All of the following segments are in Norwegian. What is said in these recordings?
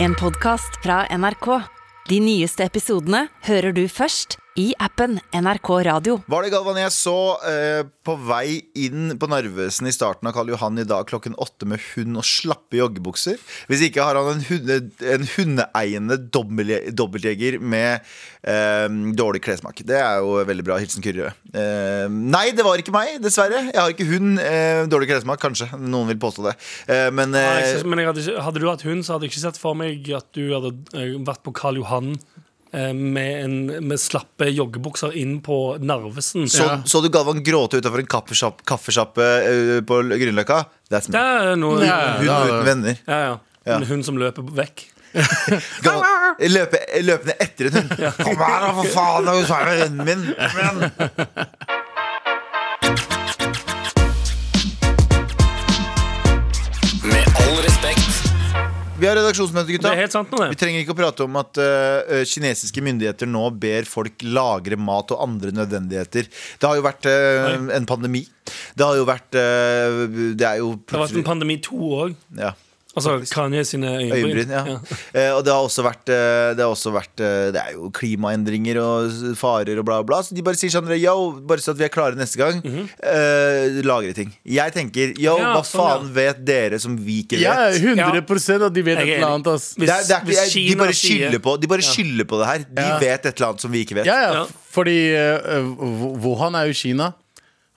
En podcast fra NRK. De nyeste episodene hører du først i appen NRK Radio. Var det Galvan jeg så eh, på vei inn på Narvesen i starten av Karl Johan i dag klokken åtte med hund og slappe joggebukser? Hvis ikke har han en, hunde, en hundeeiende dobbel- dobbeltjeger med eh, dårlig klessmak. Det er jo veldig bra. Hilsen Kyrre. Eh, nei, det var ikke meg, dessverre. Jeg har ikke hund. Eh, dårlig klessmak, kanskje. Noen vil påstå det. Eh, men Nei, jeg eh, synes- Men jeg hadde, Ah, ikke, hadde du hatt hund, så hadde jeg ikke sett for meg at du hadde eh, vært på Karl Johan eh, med, en, med slappe joggebukser inn på Narvesen. så, Ja. så du Galvan gråte utafor en kaffesjapp- kaffesjappe eh, på Grünerløkka? That's me. Det er noe Hun ja, uten venner. ja. Ja. En hund som løper vekk. Kan Ah, man løpe, løpende etter en hund. Kom her, da, for faen! Det er jo svære hunden min. Kom igjen. Med all respekt. Vi har redaksjonsmøte, Det gutta. er helt sant nå, Vi det. trenger ikke å prate om at øh, øh, kinesiske myndigheter nå ber folk lagre mat og andre nødvendigheter. Det har jo vært øh, en pandemi. Det har jo vært øh, Det er jo Det har vært en pandemi to òg. ja. Altså Kanye sine Øyenbryn, øyenbryn. ja. Eh, og det har også vært, eh, det, har også vært eh, det er jo klimaendringer og s- farer og bla, bla. Så de bare sier sånn Yo, bare så at vi er klare neste gang, eh, lagre ting. Jeg tenker Yo, Mhm. Ja, hva sånn, ja. faen vet dere som vi ikke vet? Ja, 100 at de Jeg vet er et eller enig. annet. Ass. Hvis- det er, det er, ikke- hvis jeg- de Kina bare sier- skylder på, de bare skylder på det her. De Ja. vet et eller annet som vi ikke vet. Ja, ja, Ja. fordi eh, Wu- Wuhan er jo Kina.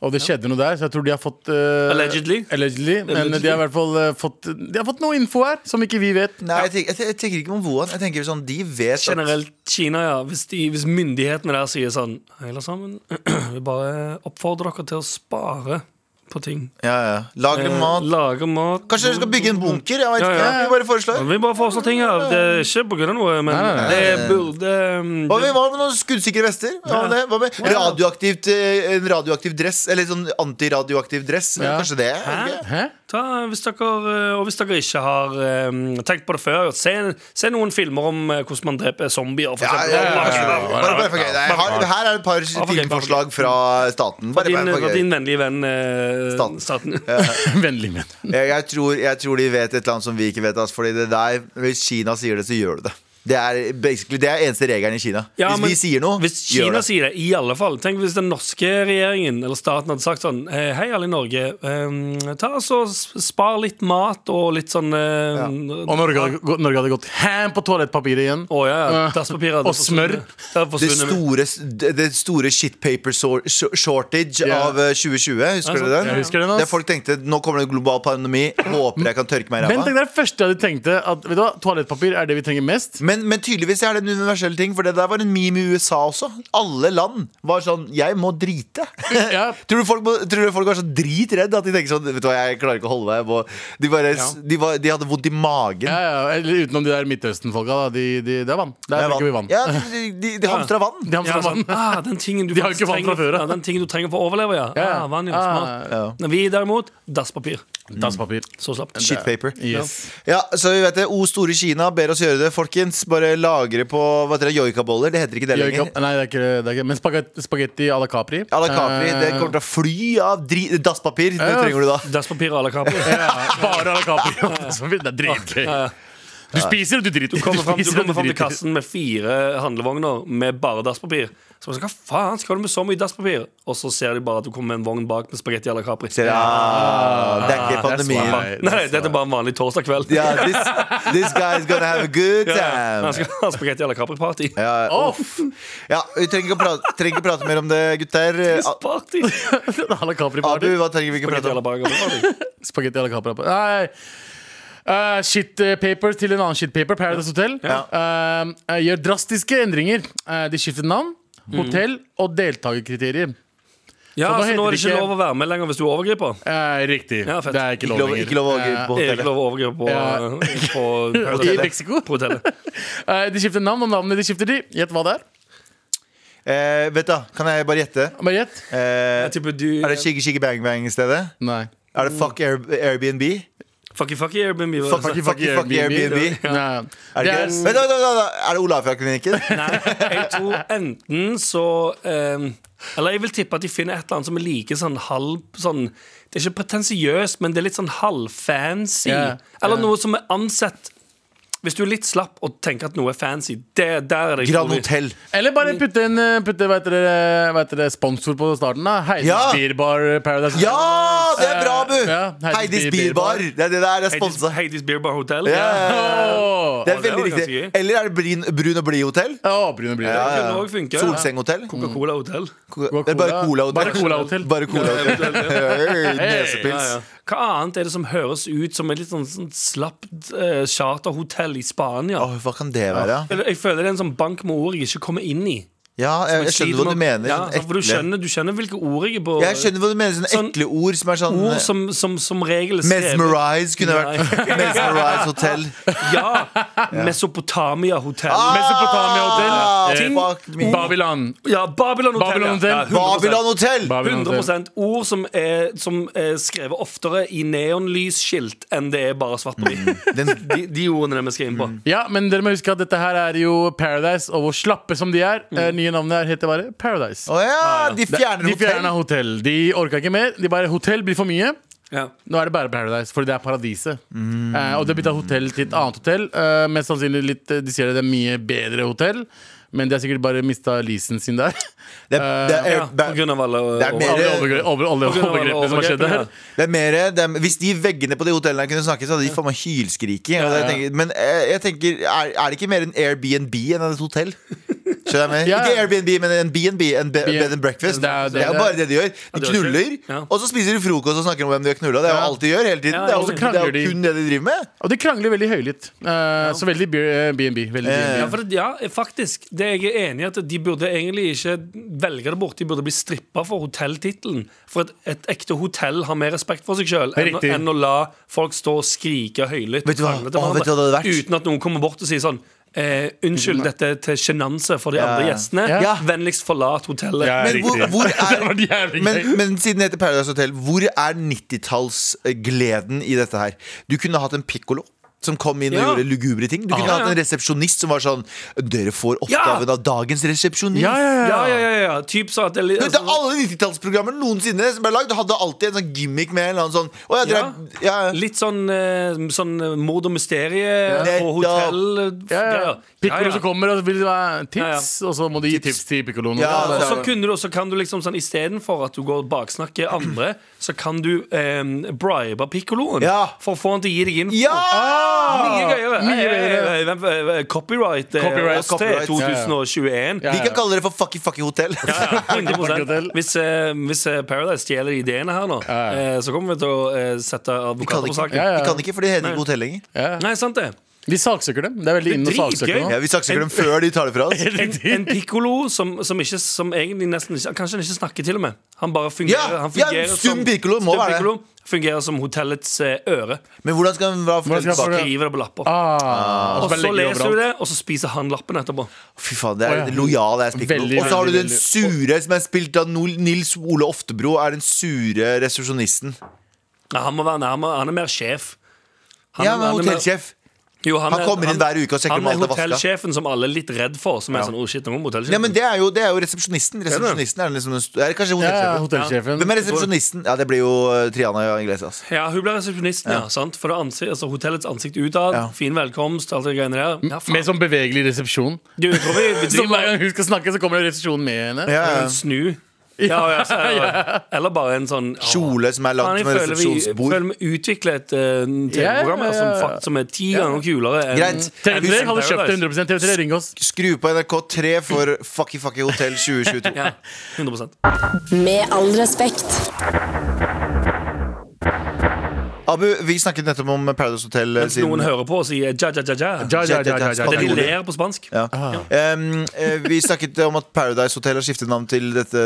Og det skjedde noe der, så jeg tror de har fått eh, Allegedly. allegedly, Men Allegedly. de har i hvert fall eh, fått De har fått noe info her som ikke vi vet. Nei, jeg tenker, jeg, jeg tenker ikke om Wuhan. Jeg tenker sånn, de vet at- Generelt Kina, ja. Hvis, de, hvis myndighetene der sier sånn Hei, alle sammen. Vi bare oppfordrer dere til å spare på ting. ja, ja. Lagre Eh, mat. Lage mat. Kanskje dere skal bygge en bunker? Jeg vet Ja, ikke, ja. Vi bare foreslår. Vi bare foreslår ting her. Det er ikke på grunn av noe, men Nei, nei, nei. det burde um, Hva med, det- hva med noen skuddsikre vester? Hva med, det? hva med radioaktivt, eh, en radioaktiv dress? Eller sånn antiradioaktiv dress? Ja. Kanskje det? Hæ? Hæ? Ta, hvis dere, eh, og hvis dere ikke har um, tenkt på det før, se, se noen filmer om eh, hvordan man dreper zombier. For Ja, eksempel. ja, ja, ja. Bare, bare for gøy. Nei, her, her er et par for gøy, filmforslag fra staten. Bare, Din, bare for for gøy. din vennlige venn eh, Staten. staten. Vennlig ment. Jeg, jeg, tror, jeg tror de vet et eller annet som vi ikke vet. ass, Fordi det der, Hvis Kina sier det, så gjør du det. Det er basically, det er eneste regelen i Kina. Ja, hvis men vi sier noe, Hvis gjør Kina det. sier det, i alle fall Tenk hvis den norske regjeringen eller staten hadde sagt sånn eh, Hei, alle i Norge. eh, ta så Spar litt mat og litt sånn eh, Og Norge hadde, gå- Norge hadde gått ham på toalettpapiret igjen. Å ja, ja. Eh, Dasspapir hadde og smør. forsvunnet. Det hadde Det forsvunnet. store, det store shit paper sor- shor- shortage Ja. av eh, 2020, husker Ja, du den? Jeg husker den, ass. Der folk tenkte nå kommer det en global pandemi, håper jeg kan tørke meg i Men ræva. tenk deg det første jeg hadde tenkt at, Vet du hva, Toalettpapir er det vi trenger mest. Men, men tydeligvis er det en universell ting, for det der var en meme i USA også. Alle land var sånn Jeg må drite. Ja. tror, du folk må, tror du folk var så dritredd at de tenker sånn Vet du hva, jeg klarer ikke å holde meg. jeg må-" De, bare, s- de, var, de hadde vondt i magen. Ja, ja, eller Utenom de der Midtøsten-folka. da. De, de, det er vann. Der Det er drikker vi vann. vann. Ja, de de, de hamstra vann. De hamstrer Ja, sånn, ah, vann. den tingen du De har faktisk jo ikke vann fra trenger- før, ja. ja, Den tingen du trenger for å overleve, ja. Ja. Ah, vann, ja, Ah, smart. Når Vi derimot, dasspapir. Dasspapir. Så slapt. Shit paper. Yes. Ja, så vi vet det. O store Kina ber oss gjøre det, folkens. Bare lagre på hva heter det, joikaboller. Det heter ikke det Gjør lenger. ikke- Nei, det er ikke, det er ikke Men spagetti, spagetti à la Capri. À la Capri. Eh, Det kommer til å fly av dri dasspapir. Det Ja. trenger du da. Dasspapir à la Capri. Eh, ja, Bare à la Capri. Det er dritgøy. Du spiser og du driter. Du kommer fram, du spiser, og kommer fram til driter. kassen med fire handlevogner med bare dasspapir. Så man sier, hva faen skal du med så mye dasspapir? Og så ser de bare at du kommer med en vogn bak med spagetti à la Capri. Ser jeg. Ah, det er ikke pandemien. smart. Nei, dette er bare en vanlig torsdag kveld. Ja, this, this guy's gonna have a good Ja, ja. time. Han skal ha spagetti à la Capri-party. Off! Ja, Vi trenger ikke å prate, trenger ikke prate mer om det, gutter. A- Party. À la Capri Abu, party. hva trenger vi ikke prate Spagetti à om? la Capri-party. Spagetti à la Capri. party. Nei. Eh, shit eh, paper til en annen shit paper. Paradise Hotel. Eh, eh, gjør drastiske endringer. Eh, de skiftet navn, hotell og deltakerkriterier. Ja, Så nå så nå er det heter det ikke ikke- lov å være med lenger hvis du overgriper. Eh, riktig. Ja, fett. det er ikke Ikke lov lov, lenger. ikke lov å gå på Det er ikke hotellet. lov å overgripe på, Ja. på, Eh, I hotellet. Mexico. på hotellet. Eh, de skifter navn, og navnet de skifter de. Gjett hva det er. Eh, vet du, kan jeg bare gjette? Bare gjett. Eh, Jeg tipper du er det Shiggy Shiggy Bang Bang i stedet? Nei. Er det Fuck Air Airbnb? Fucky fucky Airbnb. Altså, var det Fuck, det? fuck, fuck, Airbnb. Nei. Er det, Det ikke er- det? Vent, vent, vent, vent. er det Olafia-klinikken? Nei, jeg tror enten så eh, Eller jeg vil tippe at de finner et eller annet som er like sånn halv sånn, Det er ikke pretensiøst, men det er litt sånn halvfancy. Ja, Eller ja. noe som er ansett Hvis du er litt slapp og tenker at noe er fancy, det, der er det Grand Hotel. Eller bare putte en eh, putte, hva heter det, hva heter det, sponsor på starten. da Heidis Ja. Beer Bar Paradise. Ja, det er bra, Bu! Ja, Heidis Heidis Beer Bar. Bilbar. Det er det der jeg Hades, sponsa. Hades Beer Bar Hotel. Ja, ja, ja. Åh, Det er Å, det var veldig riktig. ganske gøy. Eller er det Brun, brun og blid-hotell? Åh, Brune Bryne. Det kunne også funke. Solsenghotell? Coca-Cola Hotel. Mm. Det er bare Bare Cola-hotell. Cola-hotell. Bare Cola-hotell. Hey, Ja, ja. Nesepils. Hva annet er det som høres ut som et litt sånn, sånn slapt eh, charterhotell i Spania? Åh, hva kan det være? Eller, Jeg føler det er en sånn bank med ord jeg ikke kommer inn i. Ja, jeg, jeg Sliter skjønner hva du med- mener. Ja, sånn for du, ekle- skjønner, du skjønner hvilke ord jeg er på. Jeg skjønner hva du mener. Sånne Sånn- ekle ord som er sånn Ord som som, som regel er skrevet- Mesmerize kunne det vært. Mesmerize hotell. Ja. Mesopotamia hotell. Mesopotamia Hotel. Ah, Ting- fuck me. Babylon. Ja, Babylon hotell. Babylon Hotel. Ja, 100%. Babylon hotell! Babylon Hotel. 100 ord som er, som er skrevet oftere i neonlysskilt enn det er bare svart på hvitt. Mm. Den, Mm. De, de ordene vi skal inn på. Ja, men dere må huske at dette her er jo Paradise, og hvor slappe som de er. eh, Nye navnet her heter bare Paradise. Mm. å ja, de fjerner De hotell. fjerna hotell. De orka ikke mer. De bare Hotell blir for mye. Ja. Nå er det bare Paradise, fordi det er paradiset. Eh, og det har bytta hotell til et annet hotell. Eh, mest sannsynlig litt eh, De sier det er mye bedre hotell, men de har sikkert bare mista leasen sin der. Det, er- Eh, det, Ja, er, på grunn av alle Det er mer- Alle overgre- over- alle På grunn av alle overgrepene som har skjedd overgrepene, der. ja. det er mer det er, Hvis de veggene på de hotellene kunne snakke, så hadde de faen meg hylskriki. Og det tenker- Men eh, jeg tenker, er, er det ikke mer en Airbnb enn et hotell? Skjønner jeg meg? Ja. Ikke Airbnb, men en BNB. En be, bed and breakfast. Det Det er- er, det er- bare det de gjør. De det er knuller, ikke- ja. og så spiser de frokost og snakker om hvem de har knulla. Det er jo Ja. alt de gjør hele tiden. Ja, Det er og jo- så det krangler er de. jo kun det de driver med. Og de krangler veldig høylytt. Eh, Så veldig B- BNB. Veldig Eh. BNB. Ja, for det, ja, faktisk. Det jeg er enig i at De burde egentlig ikke velge det bort. De burde bli strippa for hotelltittelen. For et, et ekte hotell har mer respekt for seg sjøl enn, å- Riktig. enn å la folk stå og skrike høylytt Vet og du hva? krangle til Å, vet du hva det hverandre hadde vært? uten at noen kommer bort og sier sånn eh, Unnskyld, dette er til sjenanse for de andre gjestene. Mm. Ja. Vennligst forlat hotellet. Ja, Men hvor, riktig. hvor Det var er jævlig men, gøy. men siden det heter Paradise Hotel, hvor er 90-tallsgleden i dette her? Du kunne hatt en pikkolo. Som kom inn og Ja. gjorde lugubre ting. Du kunne Ja, hatt en resepsjonist som var sånn Dere får oppgaven av dagens resepsjonist. Ja, ja, Ja, ja, ja, ja. Typ så at det, Du vet, altså, alle 90-tallsprogrammer noensinne som ble lagd, hadde alltid en sånn gimmick med en eller annen sånn Å ja, dere er ja. ja. Litt sånn, eh, sånn eh, mord og Ja. mysterie på hotell. Ja, ja. Piccolo som kommer og vil ha tips, Ja, og så må de gi tips til piccoloen. Ja, Og det er så det. kunne du, og så kan du liksom sånn Istedenfor at du går og baksnakker andre, så kan du eh, bribe pikkoloen Ja. for å få han til å gi deg info. ja! Ah! Mye gøyere. Mye Hey, hey, gøyere. hey, hvem- eh, Copyright eh, Copyright, oss til copyright. 2021. Ja, Vi kan kalle dere for Fucky Fucky Hotell. Ja, 100% Hotel. Hvis, eh, hvis eh, Paradise stjeler ideene her nå, Ja, ja. eh, så kommer vi til å eh, sette Vi kan advokater på ikke, saken. Ja, ja. vi kan ikke for det heter ikke hotell lenger. Nei, sant det. Vi saksøker dem. Det er Det er veldig inn å saksøke dritgøy. nå. Ja, vi saksøker dem før de tar det fra oss. En, en pikkolo som, som, ikke, som egentlig nesten ikke Kanskje han ikke snakker til og med. Han bare fungerer, Ja, han fungerer ja, stum piccolo må være det. fungerer som hotellets eh, øre. Men hvordan skal han være Hvordan skal han få det? Skriver det på lapper. Ah, og bare så legger de leser overalt. du det, og så spiser han lappen etterpå. Fy faen, det er Å, ja. lojal jeg spikker Veldig, Og så har du veldig, den veldig. sure som er spilt av Nol- Nils Ole Oftebro Er den sure resepsjonisten Nei, han må være nærmere. Han er mer sjef. Han Ja, er- men han er mer- hotellsjef Jo, han, Han er- kommer inn han- hver uke og sjekker om Han alt er er vasket. hotellsjefen som alle er litt redd for. Som er sånn, oh shit, nå må hotellsjefen Nei, men det er jo, det er jo resepsjonisten Resepsjonisten er, liksom den sto- er det kanskje Ja, hotellsjefen ja, hotellsjefen. Hvem er resepsjonisten? Ja, det blir jo eh, Triana Iglesias Ja, hun blir resepsjonisten, ja. sant? For det er ansi- altså, hotellets ansikt utad. Ja. Fin velkomst, alt det greiene der. Ja, faen. Med sånn bevegelig resepsjon. Du, jeg tror vi, vi Så driver hver gang hun skal snakke, så kommer resepsjonen med henne. ja, ja. en snu. Ja, ja, så, ja. Eller bare en sånn å, Kjole som er faen, lagd jeg med føler vi, resepsjonsbord føler vi utvikler et eh, TV-program her Ja, ja, som, ja. fakt- som er ti ganger kulere enn Greit TV3 Vi- hadde kjøpt det 100 TV3, ring oss. Skru på NRK 3 for Fucky Fucky Hotel 2022 Ja, 100 Med all respekt. Abu, vi snakket nettopp om Paradise Hotel eh, Mens noen hører på og sier ja, ja, ja, ja. Ja, ja, ja, ja, ja, Det de ja. ler på spansk. ja. Um, eh, Vi snakket om at Paradise Hotel har skiftet navn til dette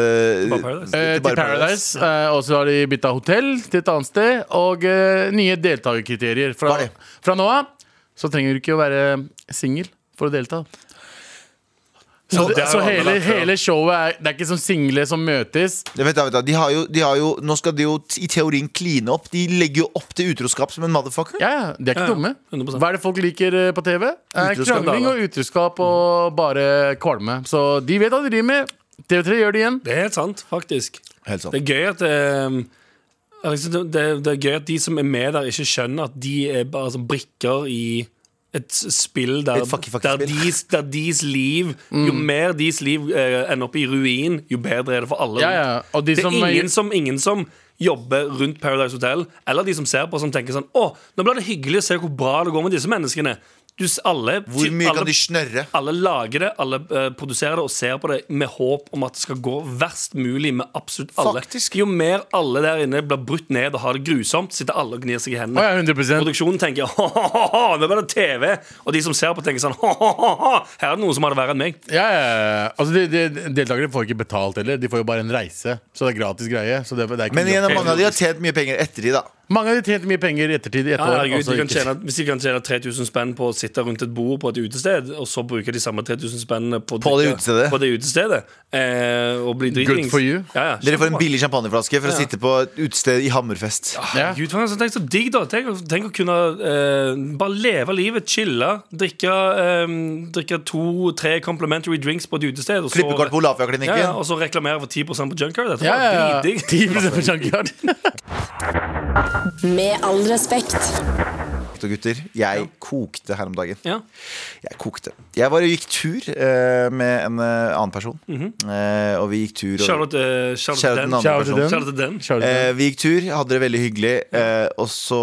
Bare Paradise. Eh, til Bare Paradise. eh, Og så har de bytta hotell til et annet sted. Og eh, nye deltakerkriterier. Fra, Hva er det? fra nå av så trenger du ikke å være singel for å delta. Så, Nå, det er så jo alle hele, vært, ja. hele showet er Det er ikke sånn single som møtes. Ja, Vent, da, vent da. De har jo, de har jo, nå skal de jo t- i teorien kline opp. De legger jo opp til utroskap som en motherfucker. Ja, ja, De er Ja, ikke ja. dumme. 100%. Hva er det folk liker eh, på TV? Eh, Utroskap, Krangling da, og utroskap og bare kvalme. Så de vet hva de driver med. TV3 gjør det igjen. Det er helt sant, faktisk. Helt sant. Det er gøy at eh, altså, det, det, det er gøy at de som er med der, ikke skjønner at de er bare som brikker i et s- spill der, Et fucky, fucky der, spill. Deres, der deres liv Jo Mm. mer deres liv eh, ender opp i ruin, jo bedre er det for alle. Ja, ja. rundt. Og de det er som- ingen som, ingen som jobber rundt Paradise Hotel, eller de som ser på, som tenker sånn Å, nå blir det hyggelig å se hvor bra det går med disse menneskene. Du, s- alle, Hvor mye alle, kan de snørre? alle lager det, alle eh, produserer det og ser på det med håp om at det skal gå verst mulig med absolutt alle. Faktisk. Jo mer alle der inne blir brutt ned og har det grusomt, sitter alle og gnir seg i hendene. Å ja, 100% Produksjonen tenker ha-ha-ha, nå blir det TV. Og de som ser på, tenker sånn ha-ha-ha, her er det noen som har det verre enn meg. Ja, ja, ja. Altså, de, de, deltakere får ikke betalt heller. De får jo bare en reise. Så det er gratis greie. Så det, det er ikke Men igjen, jobb. mange av de har tjent mye penger etter de, da. Mange av de tjente mye penger i ettertid. I ett Ja, år, herregud, altså de kan ikke- tjene, hvis de kan tjene 3000 spenn på å sitte rundt et bord på et utested, og så bruke de samme 3000 spennene på, å På det drikke- utestedet. på det utestedet eh, og bli dritings. for you. Ja, ja, Dere får en kjempebra. billig champagneflaske for å sitte på et utested i Hammerfest. Ja. Gud, for en sånn- tenk så digg da Tenk, å- tenk å kunne eh, bare leve livet, chille Drikke, eh, drikke to-tre complimentary drinks på et utested og så- Klippekort på ja, ja, Olafia-klinikken. Og så reklamere for 10% på Junker Dette Ja, var ja, ja. dritdigg 10% på junkyard. Med all respekt. Og gutter, jeg kokte her om dagen. ja. Jeg kokte. Jeg bare gikk tur eh, med en eh, annen person. eh, og vi gikk tur. og- Shout out, eh, shout out Shout out til den den andre Shout out til personen. den. Shout out til den Kjører Eh, vi gikk tur, hadde det veldig hyggelig. Eh, og så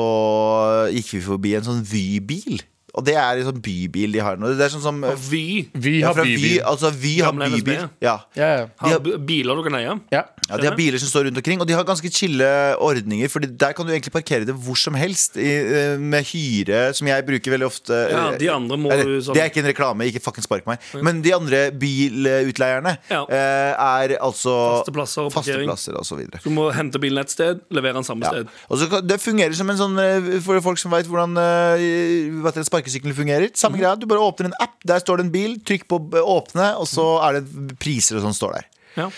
gikk vi forbi en sånn Vy-bil. Og det er en sånn bybil de har nå. Det er sånn som Og vi du. Vi ja, har fra Vy, bybil. altså, Vy har Gamle NSB, bybil. Ja. Ja, ja. har b- biler du kan eie ja. Ja, De har biler som står rundt omkring, og de har ganske chille ordninger. Fordi der kan du egentlig parkere det hvor som helst, i, eh, med hyre, som jeg bruker veldig ofte. Ja, de andre må Eller, du sånn Eh, Det er ikke en reklame, ikke fucking spark meg. Men de andre bilutleierne Ja. eh, er altså Faste plasser og parkering. fasteplasser og så videre. Du må hente bilen et sted, levere den samme Ja. sted Og så kan- det fungerer som en sånn eh, For folk som veit hvordan eh, vet dere, sparkesykkel fungerer. Mhm. Samme greia, Du bare åpner en app, der står det en bil. Trykk på eh, åpne, og så Mhm. er det priser og sånn står der. Ja.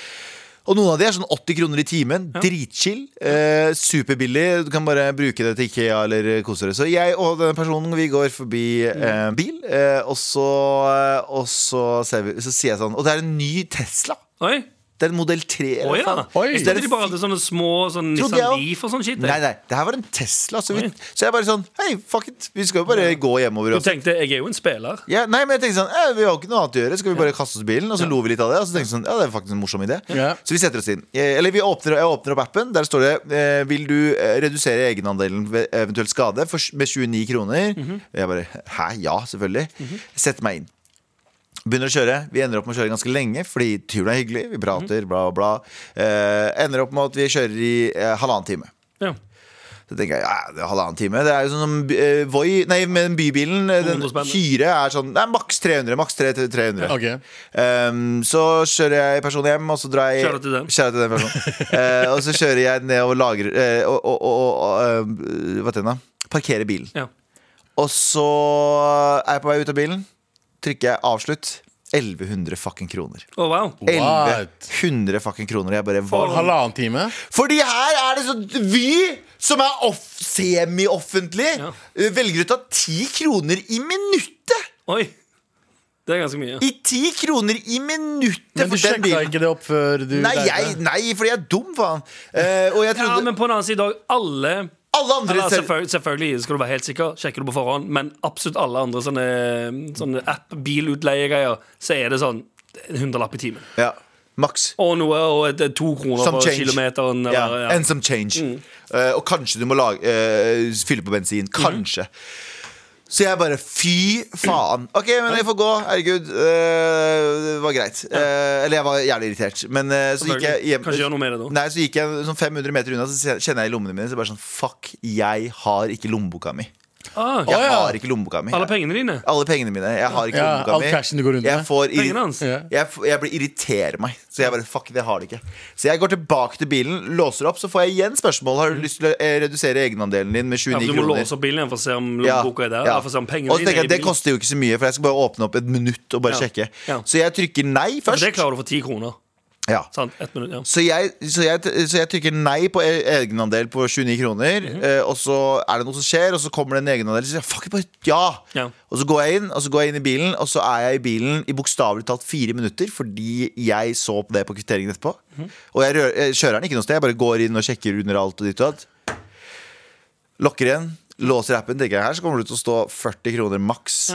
Og noen av de er sånn 80 kroner i timen. Dritchill. Eh, superbillig. Du kan bare bruke det til IKEA eller eh, kose deg. Så jeg og denne personen vi går forbi Mhm. eh, bil, eh, og, så, eh, og så, ser vi, så sier jeg sånn Og det er en ny Tesla! Oi, Det er en modell 3. eller Å, hva ja. faen. Oi. Så det Jeg er trodde de en bare hadde sånne små sånn Trodde Nissan jeg også. Leaf og sånn shit jeg. Nei, nei, det her var en Tesla. Så, vi, så jeg bare sånn Hei, fuck it. Vi skal jo bare gå hjemover. Du Og så- tenkte, jeg er jo en spiller ja, nei, men jeg tenkte sånn eh, Vi har jo ikke noe annet å gjøre. Skal vi bare kaste oss i bilen? Og så lo vi litt av det. Og så tenkte jeg sånn Ja, det er faktisk en morsom idé. Ja. Så vi setter oss inn. Eh, Eller vi åpner, jeg åpner opp appen. Der står det eh, Vil du eh, redusere egenandelen ved eventuell skade for, med 29 kroner? Jeg bare Hæ? Ja, selvfølgelig. Setter meg inn. Begynner å kjøre. Vi ender opp med å kjøre ganske lenge fordi turen er hyggelig. Vi prater, bla, bla. Eh, ender opp med at vi kjører i eh, halvannen time. Ja, Så tenker jeg, ja, det er halvannen time Det er jo sånn som eh, Voi, nei, men bybilen eh, Den 200 spenn. hyre er sånn, nei, maks 300 Maks 3 til 300 Ok. Ehm, Så kjører jeg personen hjem Og så drar jeg Kjære til den. Kjære til den personen Eh, Og så kjører jeg ned og lager eh, Og, og, og, og eh, hva heter den da? Parkerer bilen ja Og så er jeg på vei ut av bilen Trykker jeg avslutt 1100 fucking kroner Å, wow 1100 fucking kroner Jeg bare, hva Halvannen time. fordi her er det sånn Vy, som er off, semi-offentlig, Ja. eh, velger å ta ti kroner i minuttet! Oi, det er ganske mye I ti kroner i minuttet Men for du den sjekka bilen! ikke det opp før du Nei, lærte? jeg, nei, fordi jeg er dum, faen. Eh, og jeg Ja, trodde men på den annen side òg. Alle Alle andre eller, ser- selvfølgelig, selvfølgelig skal du være helt sikker, sjekker du på forhånd, men absolutt alle andre sånne, sånne app-bilutleiegreier, så er det sånn en hundrelapp i timen. ja, Maks. Og noe og et, et, to kroner Some for change. kilometeren. Ja, Eller, ja. Mm. and some change. Eh, og kanskje du må lage, eh, fylle på bensin. Mhm. Kanskje. Så jeg bare fy faen. OK, men jeg får gå. Herregud. eh, det var greit. Eh, eller jeg var jævlig irritert. Men eh, så gikk jeg hjem Kanskje gjøre noe med det da. Nei, så gikk jeg sånn 500 meter unna, så kjenner jeg i lommene mine. Så bare sånn Fuck, jeg har ikke lommeboka mi. Ah, Jeg Å, ja. har ikke lommeboka mi. alle pengene dine. Alle pengene mine. Jeg har ikke Ja, lommeboka all mi. cashen du går rundt jeg med. får irri- Pengene hans. Ja. jeg, f- jeg blir irriterer meg. Så jeg bare fuck, det har de ikke. Så jeg går tilbake til bilen, låser opp, så får jeg igjen spørsmål. Har du lyst til å eh, redusere egenandelen din med Ja, 29 for du må kroner? låse opp bilen igjen for å se om Ja, lommeboka er der. ja. eller For å se om pengene og så dine tenker er i jeg, Det bilen. koster jo ikke så mye, for jeg skal bare åpne opp et minutt og bare Ja. sjekke. Ja. Så jeg trykker nei For det først. klarer du for ti kroner. Ja. Sant? Ett minutt, ja. Så jeg, så, jeg, så jeg trykker nei på e- egenandel på 29 kroner, eh, og så er det noe som skjer, og så kommer det en egenandel, så sier jeg fuck, bare ja! Ja. Og så går jeg inn, og så går jeg inn i bilen, og så er jeg i bilen i bokstavelig talt fire minutter, fordi jeg så på det på kvitteringen etterpå. Og jeg, rør, jeg kjører den ikke noe sted, jeg bare går inn og sjekker under alt og ditt og datt. Lokker igjen, Låser appen, tenker jeg her, så kommer det til å stå 40 kroner maks.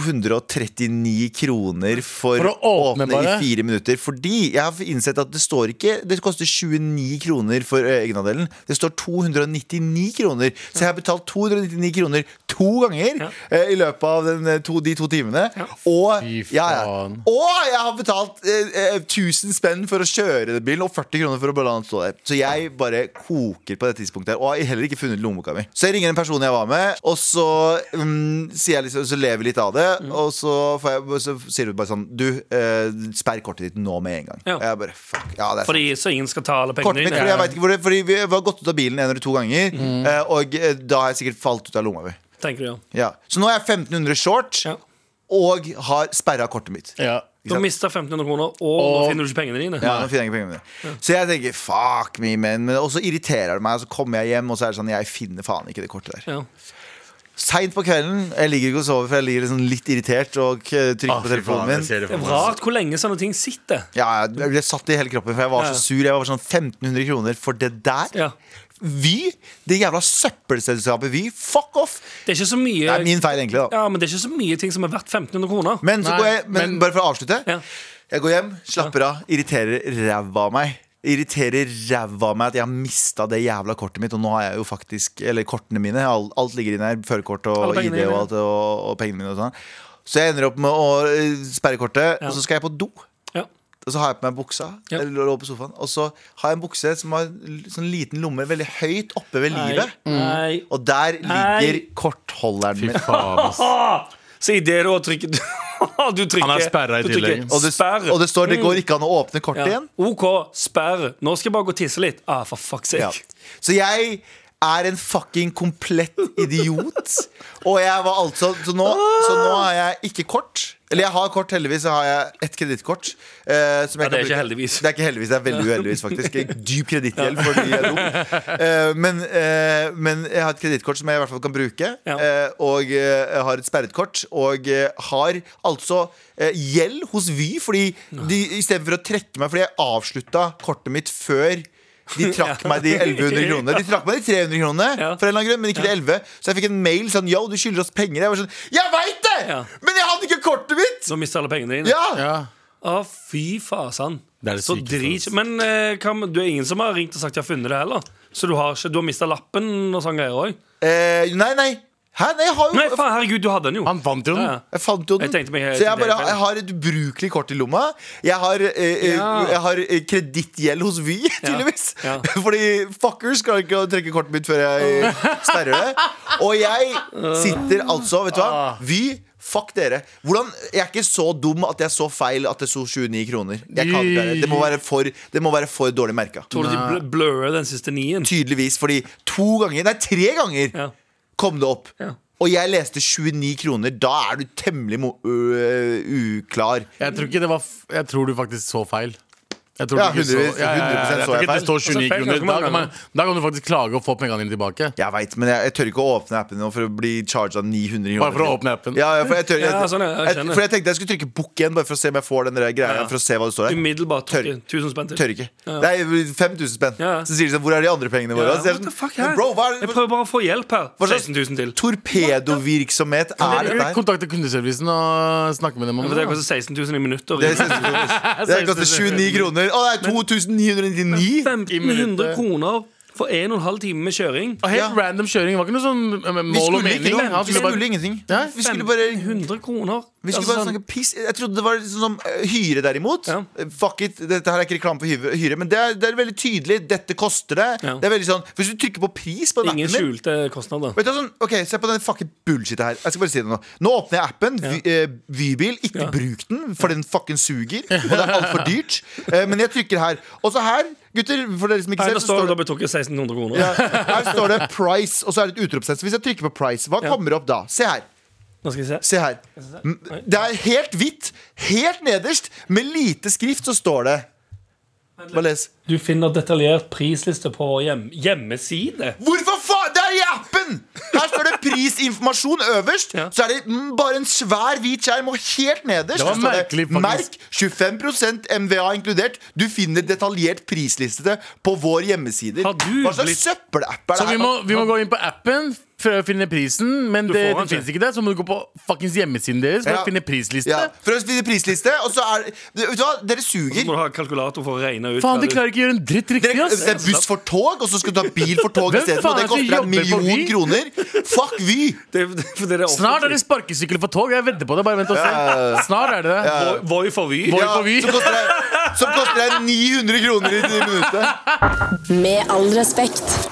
239 kroner for, For å å åpne åpne bare. i fire minutter. Fordi jeg har innsett at det står ikke Det koster 29 kroner for eh, egenandelen. Det står 299 kroner. Så jeg har betalt 299 kroner to ganger Ja. eh, i løpet av den, eh, to, de to timene. Og, Fy ja, ja. faen. og jeg har betalt eh, eh, 1000 spenn for å kjøre den bilen og 40 kroner for å bare la den stå der. Så jeg bare koker på det tidspunktet her. Og har heller ikke funnet lommeboka mi. Så jeg ringer en person jeg var med, og så mm, sier jeg liksom, så lever jeg litt av det. Mm. Og så, får jeg, så sier du bare sånn Du, eh, sperr kortet ditt nå med en gang. Ja. Og jeg bare fuck. Ja, det er sant. Fordi så ingen Mm. skal ta alle Kortet mitt, fordi jeg pengene dine. vet ikke hvor det Fordi vi har gått ut av bilen en eller to ganger, eh, og eh, da har jeg sikkert falt ut av lomma mi. tenker du, ja. Ja. Så nå er jeg 1500 short Ja. og har sperra kortet mitt. Ja. Du mister 1500 kroner, og, nå Og- finner du ikke pengene dine. Ja, nå finner jeg ikke pengene mine. Så jeg tenker fuck me, man. Men og så irriterer det meg, og så kommer jeg hjem, og så er det sånn Jeg finner faen ikke det kortet der. Ja. Seint på kvelden. Jeg ligger ikke og sover, for jeg ligger liksom litt irritert og eh, trykker Ah, på fy faen, telefonen jeg min. ser det Det er for meg. rart hvor lenge sånne ting sitter. Ja, jeg jeg ble satt i hele kroppen, for jeg var Ja. så sur. Jeg var sånn 1500 kroner for det der. Ja. Vy, det jævla søppelselskapet Vy, fuck off! Det er ikke så Det mye er min feil, egentlig, da. Ja, men det er ikke så mye ting som er verdt 1500 kroner. Men, så Nei, går jeg, men, men- bare for å avslutte. Ja. Jeg går hjem, slapper av, irriterer ræva av meg. Irriterer ræva av meg at jeg har mista det jævla kortet mitt. Og nå har jeg jo faktisk Eller kortene mine. Alt, alt ligger inne her. Førerkort Alle og pengene ID og dine. alt og, og pengene mine og sånn. Så jeg ender opp med å eh, sperre kortet, Ja. og så skal jeg på do. Ja. Og så har jeg på meg buksa, Ja. eller lå på sofaen Og så har jeg en bukse som har l- sånn liten lomme veldig høyt oppe ved livet. Nei. Og der ligger Nei. kortholderen min. Faen, ass. Så idet du har trykket Du trykker Han er sperret i du trykker tillegg. Og det, sperr. og det står det går ikke an å åpne kortet ja. igjen. OK, sperr. Nå skal jeg bare gå og tisse litt. Ah, for fuck's sake. Ja. Så jeg er en fucking komplett idiot. Og jeg var altså Så nå, så nå har jeg ikke kort. Eller jeg har kort, heldigvis. Så har jeg ett kredittkort. eh, som jeg Ja, det er kan ikke bruke. heldigvis. Det er ikke heldigvis, det er veldig uheldigvis, faktisk. Dyp kredittgjeld for de er dum. Eh, men, eh, men jeg har et kredittkort som jeg i hvert fall kan bruke. Ja. eh, og eh, jeg har et sperret kort. Og eh, har altså eh, gjeld hos Vy, fordi de, istedenfor å trekke meg Fordi jeg avslutta kortet mitt før de trakk meg de 1100 kronene. De trakk meg de 300 kronene, Ja. for en eller annen grunn, men ikke de 11. Så jeg fikk en mail sånn Yo, du skylder oss penger. Jeg var sånn Jeg veit det! Ja. Men jeg hadde ikke kortet mitt! Så mister alle pengene dine. Ja! Ja. Å, fy fasan. Det er det så sykeste, drit. altså. Men eh, hva med- du er ingen som har ringt og sagt 'jeg har funnet det', heller? Så du har, ikke- du har mista lappen og sånn greier òg? Eh, nei, nei. Hæ? Nei, jeg har jo Nei, faen, herregud, du hadde den jo. Han vant jo Ja, den. ja. Jeg fant jo den. Jeg tenkte meg helt så jeg, til bare, det, jeg har et ubrukelig kort i lomma. Jeg har, eh, eh, Ja. jeg har eh, kredittgjeld hos Vy, tydeligvis. Ja. Fordi fuckers skal ikke trekke kortet mitt før jeg eh, sperrer det. Og jeg sitter altså, vet du hva, Vy. Fuck dere. Hvordan, jeg er ikke så dum at jeg så feil at det sto 29 kroner. Jeg kan ikke være- det, må være for, det må være for dårlig merka. Tror du de bl blurrer den siste nien? Tydeligvis. Fordi to ganger, nei, tre ganger Ja. kom det opp. Ja. Og jeg leste 29 kroner. Da er du temmelig mo ø, uklar. Jeg tror ikke det var f Jeg tror du faktisk så feil. Jeg tror Ja, du ikke så- 100% så ja, ja, ja, ja. Jeg tror jeg ikke det feil. står Og så feil ganske 29 kroner. Da mange kan, man, da kan du faktisk klage og få pengene dine tilbake. Jeg veit, men jeg, jeg tør ikke å åpne appen nå for å bli charga 900 kroner. Bare for å åpne appen. Ja, ja, for jeg, tør, jeg, Ja, sånn, ja, jeg skjønner. for jeg tenkte jeg skulle trykke book igjen, bare for å se om jeg får den der greia. Ja. For å se hva det står der. Umiddelbart Tør. trykker. 1000 spenn til. Tør ikke. Det er 5000 spenn. Ja. Så sier de sånn, hvor er de andre pengene våre? Ja, Og så er jeg what sånn, the fuck her? Bro, hva Jeg er prøver bare å få hjelp her. Hva slags- 16 000 til. Torpedovirksomhet er Eller dette her. Kontakte kundeservicen og snakke med dem om For det det. koster 16 000 i minutter. Det er- det koster 29 kroner. Å, det er 2999! 1500 minutter. kroner for 1 12 time med kjøring. Og helt Ja. random kjøring. Var ikke noe sånn eh, Vi mål skulle og ikke mening. noe. Han Vi skulle bare- skulle ingenting. Nei, Vi skulle bare 100 kroner. vi skulle Altså bare sånn- snakke piss. Jeg trodde det var sånn som eh, hyre, derimot. Ja. Eh, Fuck it, Dette her er ikke reklame for hyre, hyre, men det er, det er veldig tydelig. Dette koster det. Ja. Det er veldig sånn Hvis du trykker på pris på den Ingen appen min skjulte kostnader. Vet du, hva, sånn, ok, Se på den fucking bullshit her. Jeg skal bare si det Nå Nå åpner jeg appen. Vy, eh, Vybil. Ikke Ja. bruk den, for den fucking suger. Og det er altfor dyrt. Eh, men jeg trykker her. Også her, gutter, for dere som ikke Nei, ser, da så står står det det dobbelt trukket 1600 kroner. ja, Her står det 'price', og så er det et utropstegn. Så Hvis jeg trykker på 'price', hva kommer opp da? Se her. Nå skal vi se. Se her. M- Det er helt hvitt. Helt nederst, med lite skrift, så står det Bare les. Du finner detaljert prisliste på hjem hjemmeside. Hvorfor faen? Det er i appen! Her står det prisinformasjon øverst. Ja. Så er det mm, bare en svær hvit skjerm, og helt nederst Det var så står merkelig, Merk faktisk. 25 MVA inkludert. Du finner detaljert prisliste på vår hjemmesider. Har du Hva slags blitt- søppelapp er det Så vi her? må, vi må gå inn på appen, prøve å finne prisen, men Du det, får den det finnes ikke det. Så må du gå på fuckings hjemmesiden deres for Ja. å finne prisliste. Ja, for å finne prisliste, og så er Vet du hva, dere Så må suger. du ha kalkulator for å regne ut Faen, hva de du- klarer ikke å gjøre en dritt riktig, Dere, det ass! er buss for tog, og så skal du ta bil for tog Hvem isteden. Og faen det er det som koster deg en jobber på million Vy? kroner. Fuck Vy! det, det, for det er Snart er det offentlig. sparkesykkel for tog. Jeg vedder på det. Bare vent og se. Snart er det det. Voi- Voi for Vy. Voi- Ja, på Vy. som koster deg- som koster deg 900 kroner i minuttet. Med all respekt.